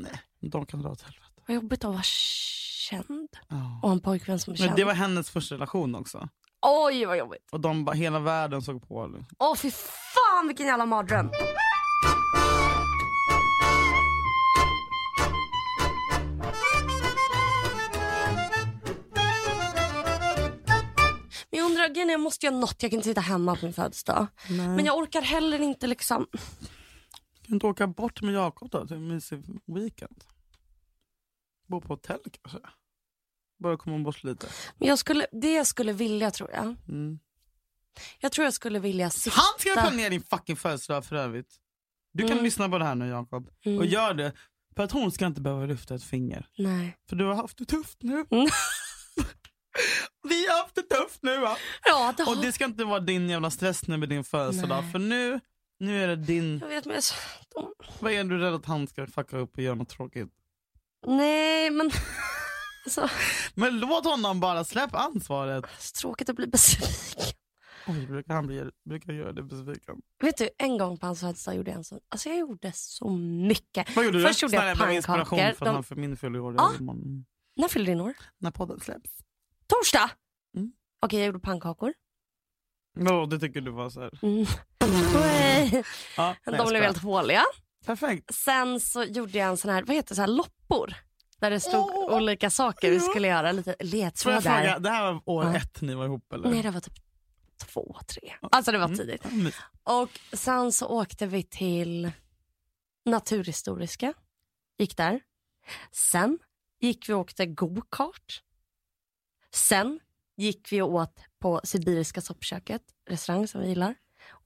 [SPEAKER 2] Nej, de kan dra åt helvete.
[SPEAKER 1] Vad jobbigt att vara känd
[SPEAKER 2] Ja.
[SPEAKER 1] och ha en pojkvän som är
[SPEAKER 2] Men
[SPEAKER 1] känd.
[SPEAKER 2] det var hennes första relation också.
[SPEAKER 1] Oj vad jobbigt.
[SPEAKER 2] Och de bara, hela världen såg på. liksom.
[SPEAKER 1] Åh fy fan vilken jävla mardröm. Men jag undrar, grejen är, jag måste göra något. Jag kan inte sitta hemma på min födelsedag. Men jag orkar heller inte liksom.
[SPEAKER 2] Kan du inte åka bort med Jakob då till en mysig weekend? Bo på hotell kanske? Bara komma bort lite.
[SPEAKER 1] Men jag skulle, det jag skulle vilja tror jag.
[SPEAKER 2] Mm.
[SPEAKER 1] Jag tror jag skulle vilja sitta.
[SPEAKER 2] Han ska planera din fucking födelsedag för övrigt. Du kan
[SPEAKER 1] Mm.
[SPEAKER 2] lyssna på det här nu Jakob.
[SPEAKER 1] Mm.
[SPEAKER 2] Och gör det. För att hon ska inte behöva lyfta ett finger.
[SPEAKER 1] Nej.
[SPEAKER 2] För du har haft det tufft nu.
[SPEAKER 1] Mm.
[SPEAKER 2] Vi har haft det tufft nu va?
[SPEAKER 1] Ja, det har...
[SPEAKER 2] Och det ska inte vara din jävla stress nu med din födelsedag.
[SPEAKER 1] Nej.
[SPEAKER 2] För nu, nu är det din...
[SPEAKER 1] Jag vet men jag... är så dum.
[SPEAKER 2] Vad är du rädd att han ska fucka upp och göra något tråkigt?
[SPEAKER 1] Nej men. Alltså,
[SPEAKER 2] Men låt honom bara, släpp ansvaret.
[SPEAKER 1] så tråkigt att bli besviken.
[SPEAKER 2] Oj, brukar han bli, brukar göra det besviken.
[SPEAKER 1] Vet du, en gång på hans födelsedag gjorde jag en sån... Alltså jag gjorde så mycket.
[SPEAKER 2] Vad gjorde
[SPEAKER 1] Först
[SPEAKER 2] du?
[SPEAKER 1] gjorde jag
[SPEAKER 2] Snälla, behöver inspiration
[SPEAKER 1] pannkakor.
[SPEAKER 2] för
[SPEAKER 1] De-
[SPEAKER 2] han för min fyller i år
[SPEAKER 1] Ja.
[SPEAKER 2] imorgon.
[SPEAKER 1] När fyllde din år?
[SPEAKER 2] När podden släpps.
[SPEAKER 1] Torsdag!
[SPEAKER 2] Mm.
[SPEAKER 1] Okej, jag gjorde pannkakor.
[SPEAKER 2] Ja, det tycker du var så här.
[SPEAKER 1] Mm. Oj.
[SPEAKER 2] Ja, nej, jag
[SPEAKER 1] De blev
[SPEAKER 2] skojar.
[SPEAKER 1] helt håliga.
[SPEAKER 2] Perfekt.
[SPEAKER 1] Sen så gjorde jag en sån här, vad heter det, så här loppor. Där det stod
[SPEAKER 2] Åh.
[SPEAKER 1] olika saker vi
[SPEAKER 2] Ja.
[SPEAKER 1] skulle göra. Lite
[SPEAKER 2] Får jag
[SPEAKER 1] ledtrådar.
[SPEAKER 2] fråga, det här var år
[SPEAKER 1] Ja.
[SPEAKER 2] ett ni var ihop eller?
[SPEAKER 1] Nej, det var typ två, tre. Alltså det var
[SPEAKER 2] Mm.
[SPEAKER 1] tidigt.
[SPEAKER 2] Ja, mysigt.
[SPEAKER 1] Och sen så åkte vi till Naturhistoriska. Gick där. Sen gick vi och åkte go-kart. Sen gick vi och åt på Sibiriska soppköket, restaurang som vi gillar.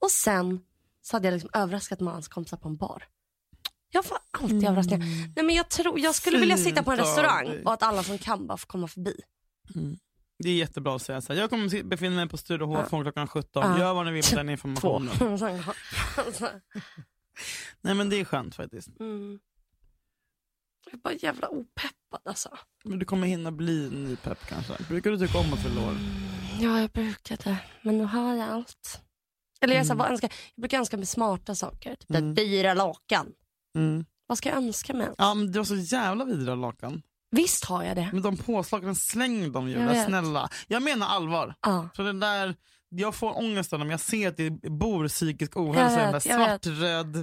[SPEAKER 1] Och sen så hade jag liksom överraskat med hans kompisar på en bar. Jag får alltid
[SPEAKER 2] Mm.
[SPEAKER 1] överraskningar. Nej, men jag, tror, jag skulle vilja
[SPEAKER 2] Fint
[SPEAKER 1] sitta på en
[SPEAKER 2] av
[SPEAKER 1] restaurang
[SPEAKER 2] dig.
[SPEAKER 1] och att alla som kan bara får komma förbi.
[SPEAKER 2] Mm. Det är jättebra att säga så här. Jag kommer se- befinna mig på Sturehof från klockan 17.
[SPEAKER 1] Ja.
[SPEAKER 2] Gör vad ni vill med den
[SPEAKER 1] Två.
[SPEAKER 2] informationen.
[SPEAKER 1] Sen går- alltså,
[SPEAKER 2] Nej men det är skönt faktiskt.
[SPEAKER 1] mm. Jag är bara jävla opeppad alltså.
[SPEAKER 2] Men du kommer hinna bli nypepp kanske. Brukar du tycka om att fylla år?
[SPEAKER 1] Ja, jag brukade. Men nu har jag allt. Eller jag, är så här,
[SPEAKER 2] Mm.
[SPEAKER 1] vad önskar, jag brukar önska mig smarta saker. Typ
[SPEAKER 2] Mm.
[SPEAKER 1] ett dyra lakan. Vad ska jag önska mig?
[SPEAKER 2] Ja men det var så jävla vidriga lakan.
[SPEAKER 1] Visst har jag det.
[SPEAKER 2] Men de påslagen, släng dem
[SPEAKER 1] Jag
[SPEAKER 2] Julia,
[SPEAKER 1] vet.
[SPEAKER 2] snälla. Jag menar allvar.
[SPEAKER 1] Ja.
[SPEAKER 2] För den där, jag får ångest av dem. Jag ser att det bor psykisk ohälsa i
[SPEAKER 1] Jag
[SPEAKER 2] den där
[SPEAKER 1] vet, jag vet.
[SPEAKER 2] svart, röd,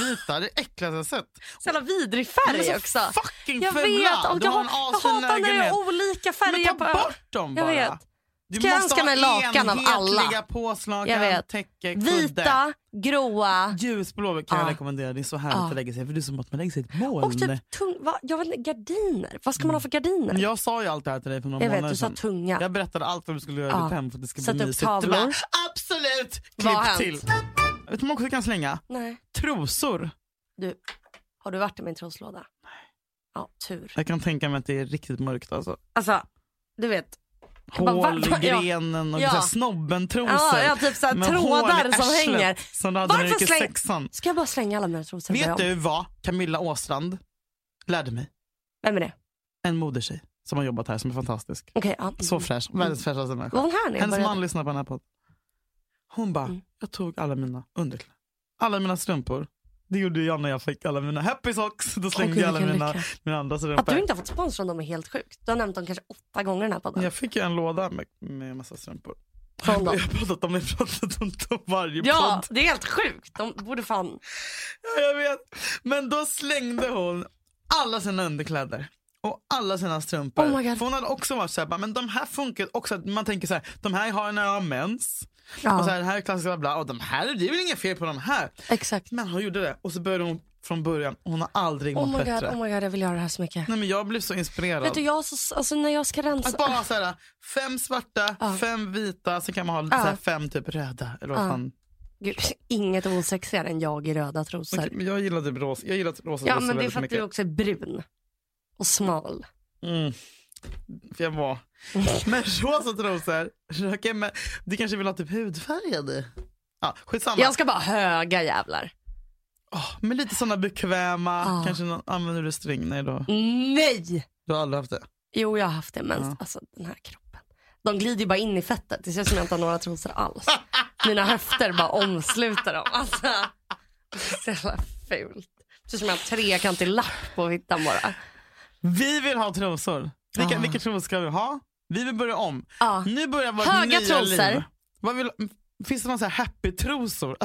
[SPEAKER 2] vita. Det är äckligaste jag sett.
[SPEAKER 1] Så jävla vidrig
[SPEAKER 2] De är
[SPEAKER 1] färg
[SPEAKER 2] så
[SPEAKER 1] också.
[SPEAKER 2] alltså, fucking
[SPEAKER 1] Jag
[SPEAKER 2] fula.
[SPEAKER 1] vet. Och
[SPEAKER 2] Du
[SPEAKER 1] jag,
[SPEAKER 2] har en
[SPEAKER 1] jag
[SPEAKER 2] asfin
[SPEAKER 1] hatar när det
[SPEAKER 2] lägenhet.
[SPEAKER 1] är olika
[SPEAKER 2] Men
[SPEAKER 1] färger
[SPEAKER 2] ta
[SPEAKER 1] på
[SPEAKER 2] bort dem
[SPEAKER 1] Jag
[SPEAKER 2] bara.
[SPEAKER 1] vet.
[SPEAKER 2] Du
[SPEAKER 1] Ska jag
[SPEAKER 2] måste
[SPEAKER 1] önska
[SPEAKER 2] ha
[SPEAKER 1] mig lakan av alla?
[SPEAKER 2] enhetliga
[SPEAKER 1] Jag
[SPEAKER 2] påslakan,
[SPEAKER 1] vet.
[SPEAKER 2] täcke, kudde.
[SPEAKER 1] Vita, gråa
[SPEAKER 2] Ljusblå kan
[SPEAKER 1] Ja.
[SPEAKER 2] jag rekommendera. Det är så härligt
[SPEAKER 1] Ja.
[SPEAKER 2] att lägga sig för det är som att man lägger sig i ett
[SPEAKER 1] och
[SPEAKER 2] moln.
[SPEAKER 1] typ tung, va, jag vet inte, gardiner. Vad ska man ha för gardiner?
[SPEAKER 2] Men Jag sa ju allt det här till dig för några
[SPEAKER 1] jag vet,
[SPEAKER 2] månader
[SPEAKER 1] du sa
[SPEAKER 2] sedan.
[SPEAKER 1] tunga.
[SPEAKER 2] Jag berättade allt vad du skulle göra i
[SPEAKER 1] Ja.
[SPEAKER 2] ditt hem för att det ska
[SPEAKER 1] Sätta
[SPEAKER 2] bli
[SPEAKER 1] upp
[SPEAKER 2] mysigt. Du bara,
[SPEAKER 1] tavlor.
[SPEAKER 2] absolut!
[SPEAKER 1] Vad har
[SPEAKER 2] Klipp
[SPEAKER 1] hänt?
[SPEAKER 2] till. Vet du vad man också kan slänga?
[SPEAKER 1] Nej.
[SPEAKER 2] Trosor.
[SPEAKER 1] Du, har du varit i min troslåda? Nej. Ja, tur.
[SPEAKER 2] Jag kan tänka mig att det är riktigt mörkt alltså.
[SPEAKER 1] Alltså, du vet. Jag bara,
[SPEAKER 2] Hål
[SPEAKER 1] va- va-
[SPEAKER 2] i
[SPEAKER 1] ja.
[SPEAKER 2] grenen och
[SPEAKER 1] Ja.
[SPEAKER 2] så här snobben-trosor.
[SPEAKER 1] Ja, jag har typ såhär
[SPEAKER 2] med hål
[SPEAKER 1] trådar
[SPEAKER 2] i
[SPEAKER 1] som
[SPEAKER 2] arslet
[SPEAKER 1] hänger.
[SPEAKER 2] Som du hade när du
[SPEAKER 1] Varför
[SPEAKER 2] gick i
[SPEAKER 1] släng-
[SPEAKER 2] sexan.
[SPEAKER 1] Ska jag bara slänga alla mina trosor? och börja
[SPEAKER 2] Vet
[SPEAKER 1] om?
[SPEAKER 2] du vad Camilla Åstrand lärde mig?
[SPEAKER 1] Vem är det?
[SPEAKER 2] En modertjej som har jobbat här som är fantastisk.
[SPEAKER 1] Okej, ja.
[SPEAKER 2] Så fräsch. Världens fräschaste människa.
[SPEAKER 1] Var hon här när jag
[SPEAKER 2] Hennes
[SPEAKER 1] började?
[SPEAKER 2] man lyssnar på den här podden. Hon bara,
[SPEAKER 1] Mm.
[SPEAKER 2] jag tog alla mina underkläder, alla mina strumpor. Det gjorde jag när jag fick alla mina happy socks. Då slängde
[SPEAKER 1] gud,
[SPEAKER 2] jag alla
[SPEAKER 1] vilken
[SPEAKER 2] mina,
[SPEAKER 1] lycka.
[SPEAKER 2] mina andra
[SPEAKER 1] Att
[SPEAKER 2] strumpor.
[SPEAKER 1] du inte har fått spons från dem är helt sjukt. Du har nämnt dem kanske åtta gånger i den här podden.
[SPEAKER 2] Jag fick ju en låda med, med massa strumpor.
[SPEAKER 1] Från dem.
[SPEAKER 2] Jag har pratat om det, jag har pratat om det varje
[SPEAKER 1] Ja,
[SPEAKER 2] podd.
[SPEAKER 1] det är helt sjukt. De borde fan...
[SPEAKER 2] Ja, jag vet. Men då slängde hon alla sina underkläder. Och alla sina strumpor.
[SPEAKER 1] Oh my God.
[SPEAKER 2] För hon hade också varit så här, bara, men de här funkar också. att Man tänker så här, de här har jag när jag har mens.
[SPEAKER 1] Ja,
[SPEAKER 2] Och så här, det här är klassiskt bla bla. Och de här, det är väl inget fel på de här.
[SPEAKER 1] exakt.
[SPEAKER 2] Men hon gjorde det. Och så började hon från början. och Hon har aldrig
[SPEAKER 1] Oh
[SPEAKER 2] mått
[SPEAKER 1] my god,
[SPEAKER 2] bättre.
[SPEAKER 1] oh my god, jag vill göra det här så mycket.
[SPEAKER 2] Nej men jag blev så inspirerad.
[SPEAKER 1] Vet du, jag har så, alltså, när jag ska rensa...
[SPEAKER 2] Att bara ha så här, fem svarta, fem vita, sen kan man ha lite
[SPEAKER 1] Ja.
[SPEAKER 2] så här, fem typ röda. Eller vad fan.
[SPEAKER 1] Gud, inget osexigare än jag i röda trosor.
[SPEAKER 2] Okej, men jag gillade rosa, jag gillade rosa
[SPEAKER 1] ja,
[SPEAKER 2] trosor
[SPEAKER 1] men det är
[SPEAKER 2] väldigt
[SPEAKER 1] för att
[SPEAKER 2] mycket.
[SPEAKER 1] du också är brun. Och smal.
[SPEAKER 2] Mm. För jag var. Men rosa trosor, röka med. Du kanske vill ha typ hudfärgade? Ja, skitsamma.
[SPEAKER 1] Jag ska bara höga jävlar.
[SPEAKER 2] Åh, men lite sådana bekväma.
[SPEAKER 1] Ah.
[SPEAKER 2] Kanske någon, använder du string? Nej då.
[SPEAKER 1] Nej!
[SPEAKER 2] Du har aldrig haft det?
[SPEAKER 1] Jo, jag har haft det, men
[SPEAKER 2] Ja.
[SPEAKER 1] alltså den här kroppen. De glider ju bara in i fettet. Det ser ut som jag inte har några trosor alls. Mina höfter bara omsluter dem. Alltså, det är så jävla fult. Det ser ut som jag har en trekantig lapp på fittan bara.
[SPEAKER 2] Vi vill ha trosor. Vilka,
[SPEAKER 1] Ah.
[SPEAKER 2] vilka trosor ska vi ha? Vi vill börja om.
[SPEAKER 1] Ja.
[SPEAKER 2] Nu börjar vårt
[SPEAKER 1] Höga
[SPEAKER 2] nya
[SPEAKER 1] trosor.
[SPEAKER 2] liv. Vad vill, finns det någon så här happy-trosor?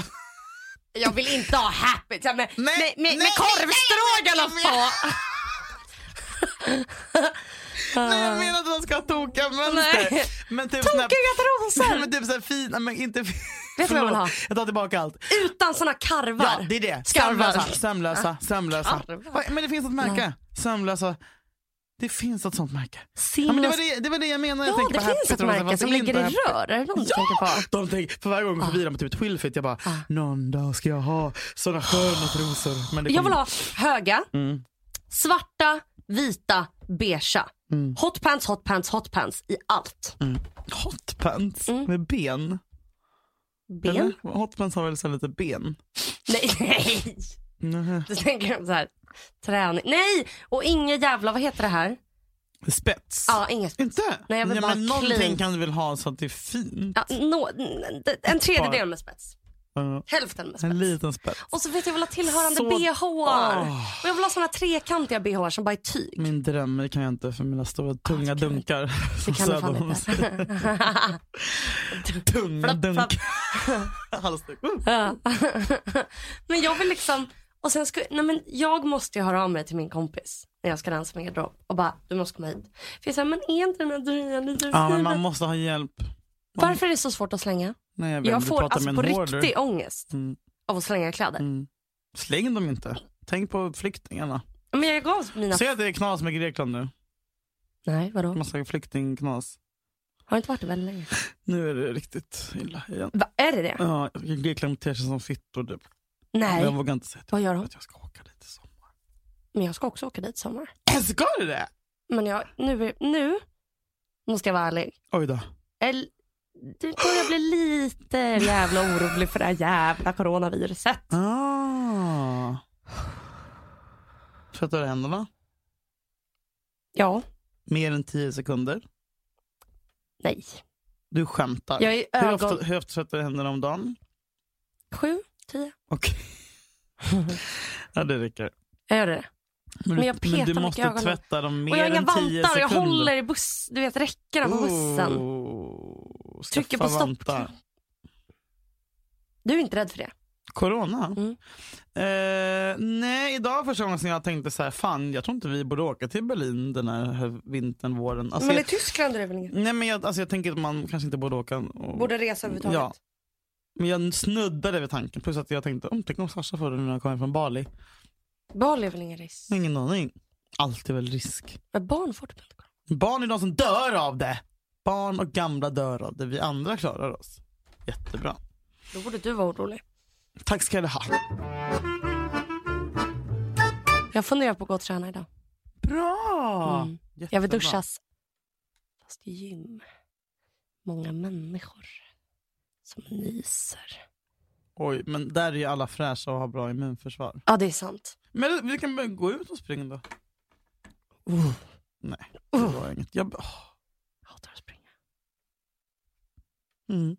[SPEAKER 1] Jag vill inte ha happy så här med,
[SPEAKER 2] Nej,
[SPEAKER 1] med, med,
[SPEAKER 2] nej,
[SPEAKER 1] med korvstroganoff
[SPEAKER 2] nej,
[SPEAKER 1] på.
[SPEAKER 2] Nej, jag menar att man ska ha tokiga mönster.
[SPEAKER 1] Nej.
[SPEAKER 2] Men typ såna här-
[SPEAKER 1] Tokiga
[SPEAKER 2] Nej,
[SPEAKER 1] trosor.
[SPEAKER 2] men typ så här fina, men inte... Vet
[SPEAKER 1] Vet du vad jag vill ha?
[SPEAKER 2] Jag tar tillbaka allt.
[SPEAKER 1] Utan såna karvar.
[SPEAKER 2] Ja, det är det.
[SPEAKER 1] Skarvar.
[SPEAKER 2] Sömlösa. Sömlösa. Sömlösa.
[SPEAKER 1] Skarvar.
[SPEAKER 2] Va, Men det finns ett märke. Sömlösa. Det finns ett sånt märke.
[SPEAKER 1] Simons...
[SPEAKER 2] Ja, men det, var det, det var det jag menade.
[SPEAKER 1] Ja,
[SPEAKER 2] jag tänkte
[SPEAKER 1] det
[SPEAKER 2] på
[SPEAKER 1] finns
[SPEAKER 2] Happy
[SPEAKER 1] ett
[SPEAKER 2] Trolls,
[SPEAKER 1] märke
[SPEAKER 2] fast
[SPEAKER 1] som
[SPEAKER 2] det är inte
[SPEAKER 1] ligger i
[SPEAKER 2] Happy.
[SPEAKER 1] rör. Är det någon du tänker på?
[SPEAKER 2] De tänker, för varje gång jag går förbi dem på typ Twilfit, jag bara, någon dag ska jag ha såna sköna trosor. Men det
[SPEAKER 1] Jag vill
[SPEAKER 2] kommer-
[SPEAKER 1] ha höga, svarta, vita, beigea.
[SPEAKER 2] Mm.
[SPEAKER 1] Hot pants, hot pants, hot pants i allt.
[SPEAKER 2] hotpants med ben.
[SPEAKER 1] Mm. Ben?
[SPEAKER 2] Eller? Hotpants har väl så här lite ben?
[SPEAKER 1] Nej, nej. Du tänker så här, träning. Nej, och inget jävla, vad heter det här?
[SPEAKER 2] Spets?
[SPEAKER 1] Ja, inget.
[SPEAKER 2] Inte?
[SPEAKER 1] Nej, jag vill
[SPEAKER 2] ja,
[SPEAKER 1] bara
[SPEAKER 2] men
[SPEAKER 1] ha
[SPEAKER 2] någonting
[SPEAKER 1] clean.
[SPEAKER 2] kan du väl ha så att det är fint?
[SPEAKER 1] Ja, nå- n- en tredjedel med spets.
[SPEAKER 2] Ja.
[SPEAKER 1] Hälften med
[SPEAKER 2] En
[SPEAKER 1] spets.
[SPEAKER 2] liten spets.
[SPEAKER 1] Och så vet jag, jag vill ha tillhörande
[SPEAKER 2] Så-
[SPEAKER 1] bh.
[SPEAKER 2] Åh.
[SPEAKER 1] Och jag vill ha såna trekantiga bh som bara är tyg.
[SPEAKER 2] Min dröm, det kan jag inte för mina stora tunga
[SPEAKER 1] det kan du.
[SPEAKER 2] dunkar.
[SPEAKER 1] Det
[SPEAKER 2] som
[SPEAKER 1] kan du fan
[SPEAKER 2] Söderholm
[SPEAKER 1] inte.
[SPEAKER 2] säger. Tunga
[SPEAKER 1] Flapp, flapp.
[SPEAKER 2] dunkar. Halsduk. Uh.
[SPEAKER 1] Ja. men jag vill liksom... Och sen ska, nej men jag måste ju höra av mig till min kompis när jag ska rensa min garderob och bara, du måste komma hit. För jag säger, men är inte den här dröjan lite
[SPEAKER 2] Ja, men
[SPEAKER 1] fin?
[SPEAKER 2] man måste ha hjälp.
[SPEAKER 1] Varför är det så svårt att slänga?
[SPEAKER 2] Nej, jag, vet,
[SPEAKER 1] Jag
[SPEAKER 2] inte,
[SPEAKER 1] får
[SPEAKER 2] prata
[SPEAKER 1] alltså
[SPEAKER 2] med
[SPEAKER 1] på
[SPEAKER 2] en hoarder.
[SPEAKER 1] riktig ångest
[SPEAKER 2] Mm.
[SPEAKER 1] av att slänga kläder.
[SPEAKER 2] Mm. Släng dem inte. Tänk på flyktingarna.
[SPEAKER 1] Men jag gav mina...
[SPEAKER 2] Säg att det är knas med Grekland nu.
[SPEAKER 1] Nej, vadå?
[SPEAKER 2] Massa flyktingknas.
[SPEAKER 1] Har inte varit det väldigt länge?
[SPEAKER 2] Nu är det riktigt illa igen.
[SPEAKER 1] Va, är det det?
[SPEAKER 2] Ja, Grekland beter sig som fittor. typ. Men Jag
[SPEAKER 1] Nej,
[SPEAKER 2] vågar inte säga
[SPEAKER 1] vad gör
[SPEAKER 2] till
[SPEAKER 1] de?
[SPEAKER 2] att jag ska åka dit i sommar.
[SPEAKER 1] Men jag ska också åka dit i sommar.
[SPEAKER 2] Ska du det?
[SPEAKER 1] Men jag, nu, är- nu måste jag vara ärlig.
[SPEAKER 2] Oj då.
[SPEAKER 1] El, du börjar bli lite jävla orolig för det här jävla coronaviruset.
[SPEAKER 2] Ah. Tvättar du händerna?
[SPEAKER 1] Ja,
[SPEAKER 2] Mer än 10 sekunder?
[SPEAKER 1] nej.
[SPEAKER 2] Du skämtar.
[SPEAKER 1] Jag är
[SPEAKER 2] hur,
[SPEAKER 1] ögon...
[SPEAKER 2] ofta, hur ofta tvättar du händerna om dagen?
[SPEAKER 1] Sju, tio.
[SPEAKER 2] Okej. ja, det räcker.
[SPEAKER 1] Jag gör det.
[SPEAKER 2] Men,
[SPEAKER 1] Men
[SPEAKER 2] du-
[SPEAKER 1] jag petar
[SPEAKER 2] men du
[SPEAKER 1] mycket i
[SPEAKER 2] måste
[SPEAKER 1] ögonen.
[SPEAKER 2] tvätta dem mer
[SPEAKER 1] Och jag har inga
[SPEAKER 2] än 10 sekunder.
[SPEAKER 1] vantar och jag håller i buss, du vet räckena på bussen.
[SPEAKER 2] Oh,
[SPEAKER 1] Trycker på
[SPEAKER 2] skaffa
[SPEAKER 1] stopp.
[SPEAKER 2] vantar.
[SPEAKER 1] Du är inte rädd för det?
[SPEAKER 2] Corona?
[SPEAKER 1] Mm.
[SPEAKER 2] Eh, nej, idag var första gången som jag tänkte så här, fan jag tror inte vi borde åka till Berlin den här vintern, våren. Alltså,
[SPEAKER 1] men i
[SPEAKER 2] jag,
[SPEAKER 1] Tyskland är det väl inget?
[SPEAKER 2] nej, men jag, alltså, jag tänker att man kanske inte borde åka. Och,
[SPEAKER 1] Borde resa överhuvudtaget?
[SPEAKER 2] Ja. Men jag snuddade vid tanken. Plus att jag tänkte, om tänk om Sasha får det nu när jag kommer från Bali.
[SPEAKER 1] Bali är väl ingen risk?
[SPEAKER 2] Ingen aning. Alltid väl risk.
[SPEAKER 1] Men barn får det inte.
[SPEAKER 2] Barn är de som dör av det. Barn och gamla dör av det. Vi andra klarar oss. Jättebra.
[SPEAKER 1] Då borde du vara orolig.
[SPEAKER 2] Tack ska du ha.
[SPEAKER 1] Jag funderar på att gå och träna idag.
[SPEAKER 2] Bra!
[SPEAKER 1] Mm. Jag vill
[SPEAKER 2] Jättebra.
[SPEAKER 1] duschas. Fast i gym. Många människor som nyser.
[SPEAKER 2] Oj, men där är ju alla fräscha och har bra immunförsvar.
[SPEAKER 1] Ja, det är sant.
[SPEAKER 2] Men vi kan börja gå ut och springa då.
[SPEAKER 1] Uh.
[SPEAKER 2] Nej, det var inget. Jag... åh.
[SPEAKER 1] Jag hatar att springa.
[SPEAKER 2] Mm.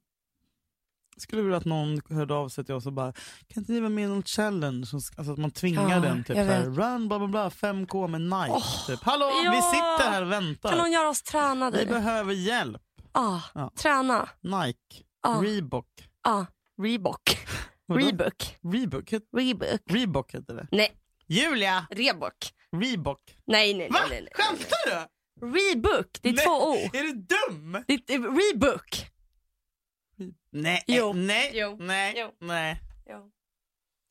[SPEAKER 2] Skulle vilja att någon hörde av sig till oss och bara, kan inte ni vara med i någon challenge? Som- Alltså att man tvingar
[SPEAKER 1] Ja,
[SPEAKER 2] den typ
[SPEAKER 1] jag
[SPEAKER 2] såhär,
[SPEAKER 1] vet.
[SPEAKER 2] run bla bla bla 5k med Nike. typ. Hallå
[SPEAKER 1] ja.
[SPEAKER 2] vi sitter här och
[SPEAKER 1] Kan
[SPEAKER 2] väntar.
[SPEAKER 1] någon göra oss tränade?
[SPEAKER 2] Vi behöver hjälp.
[SPEAKER 1] ah,
[SPEAKER 2] Ja.
[SPEAKER 1] Träna.
[SPEAKER 2] Nike,
[SPEAKER 1] Ah,
[SPEAKER 2] Reebok.
[SPEAKER 1] ah, Reebok.
[SPEAKER 2] Vadå?
[SPEAKER 1] Reebok.
[SPEAKER 2] Reebok, het-
[SPEAKER 1] Reebok.
[SPEAKER 2] Reebok heter det.
[SPEAKER 1] Nej,
[SPEAKER 2] Julia!
[SPEAKER 1] Reebok.
[SPEAKER 2] Reebok.
[SPEAKER 1] Nej, nej,
[SPEAKER 2] Va?
[SPEAKER 1] nej. nej, nej.
[SPEAKER 2] Skämtar du?
[SPEAKER 1] Reebok, det är
[SPEAKER 2] Nej.
[SPEAKER 1] två O.
[SPEAKER 2] Är du dum?
[SPEAKER 1] Det är eh, Reebok.
[SPEAKER 2] Nej,
[SPEAKER 1] Jo.
[SPEAKER 2] nej,
[SPEAKER 1] Jo.
[SPEAKER 2] nej,
[SPEAKER 1] Jo.
[SPEAKER 2] nej.
[SPEAKER 1] Ja,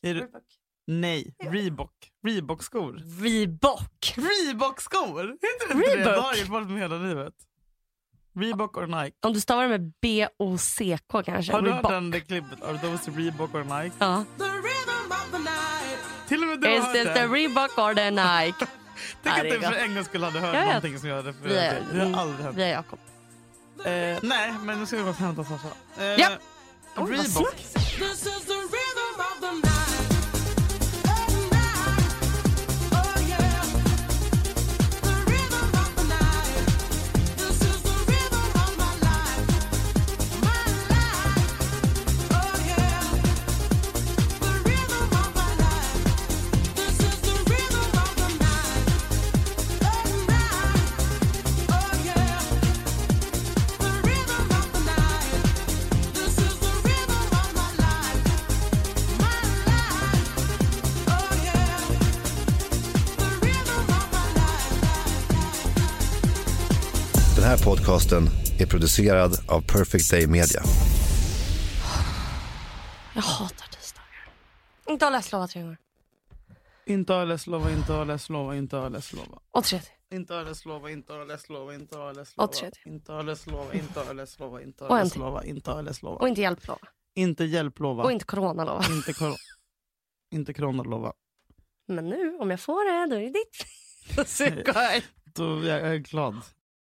[SPEAKER 2] Är du,
[SPEAKER 1] Reebok.
[SPEAKER 2] nej, Reebok. Reebok-skor.
[SPEAKER 1] Reebok.
[SPEAKER 2] Reebok-skor? Heter det inte det?
[SPEAKER 1] Reebok.
[SPEAKER 2] Det har jag varit med hela livet. Reebok or Nike.
[SPEAKER 1] Om du stavar det med B-O-C-K kanske.
[SPEAKER 2] Har du hört
[SPEAKER 1] Reebok.
[SPEAKER 2] den det klippet? Are those Reebok or Nike?
[SPEAKER 1] Ja.
[SPEAKER 2] Till och med du har
[SPEAKER 1] Is
[SPEAKER 2] hört
[SPEAKER 1] this the
[SPEAKER 2] den.
[SPEAKER 1] Reebok or the Nike?
[SPEAKER 2] Tänk att
[SPEAKER 1] Ja,
[SPEAKER 2] du
[SPEAKER 1] det är
[SPEAKER 2] för en gångs skull hade hört
[SPEAKER 1] Ja, ja.
[SPEAKER 2] någonting som jag refererade till. Det har aldrig hänt.
[SPEAKER 1] Vi är Jakob.
[SPEAKER 2] Eh, nej, men nu ska vi gå och hämta Sasha. Eh,
[SPEAKER 1] Ja. Oj, vad
[SPEAKER 2] Reebok.
[SPEAKER 1] snabbt.
[SPEAKER 4] Den här podcasten är producerad av Perfect Day Media.
[SPEAKER 1] Jag hatar tisdagar. Inte har läst Lova tre gånger.
[SPEAKER 2] Inte öle slova, inte öle slova, inte öle slova.
[SPEAKER 1] Och tre till.
[SPEAKER 2] Inte öle slova, inte öle slova, inte öle slova.
[SPEAKER 1] Och tredje.
[SPEAKER 2] Inte öle slova, inte öle slova, inte
[SPEAKER 1] Och en
[SPEAKER 2] öle
[SPEAKER 1] till.
[SPEAKER 2] slova, inte öle slova.
[SPEAKER 1] Och inte hjälplova.
[SPEAKER 2] Inte hjälplova,
[SPEAKER 1] Och inte coronalova.
[SPEAKER 2] inte kor- inte coronalova.
[SPEAKER 1] Men nu, om jag får det, då är det ditt. Så går jag.
[SPEAKER 2] Då är jag är glad.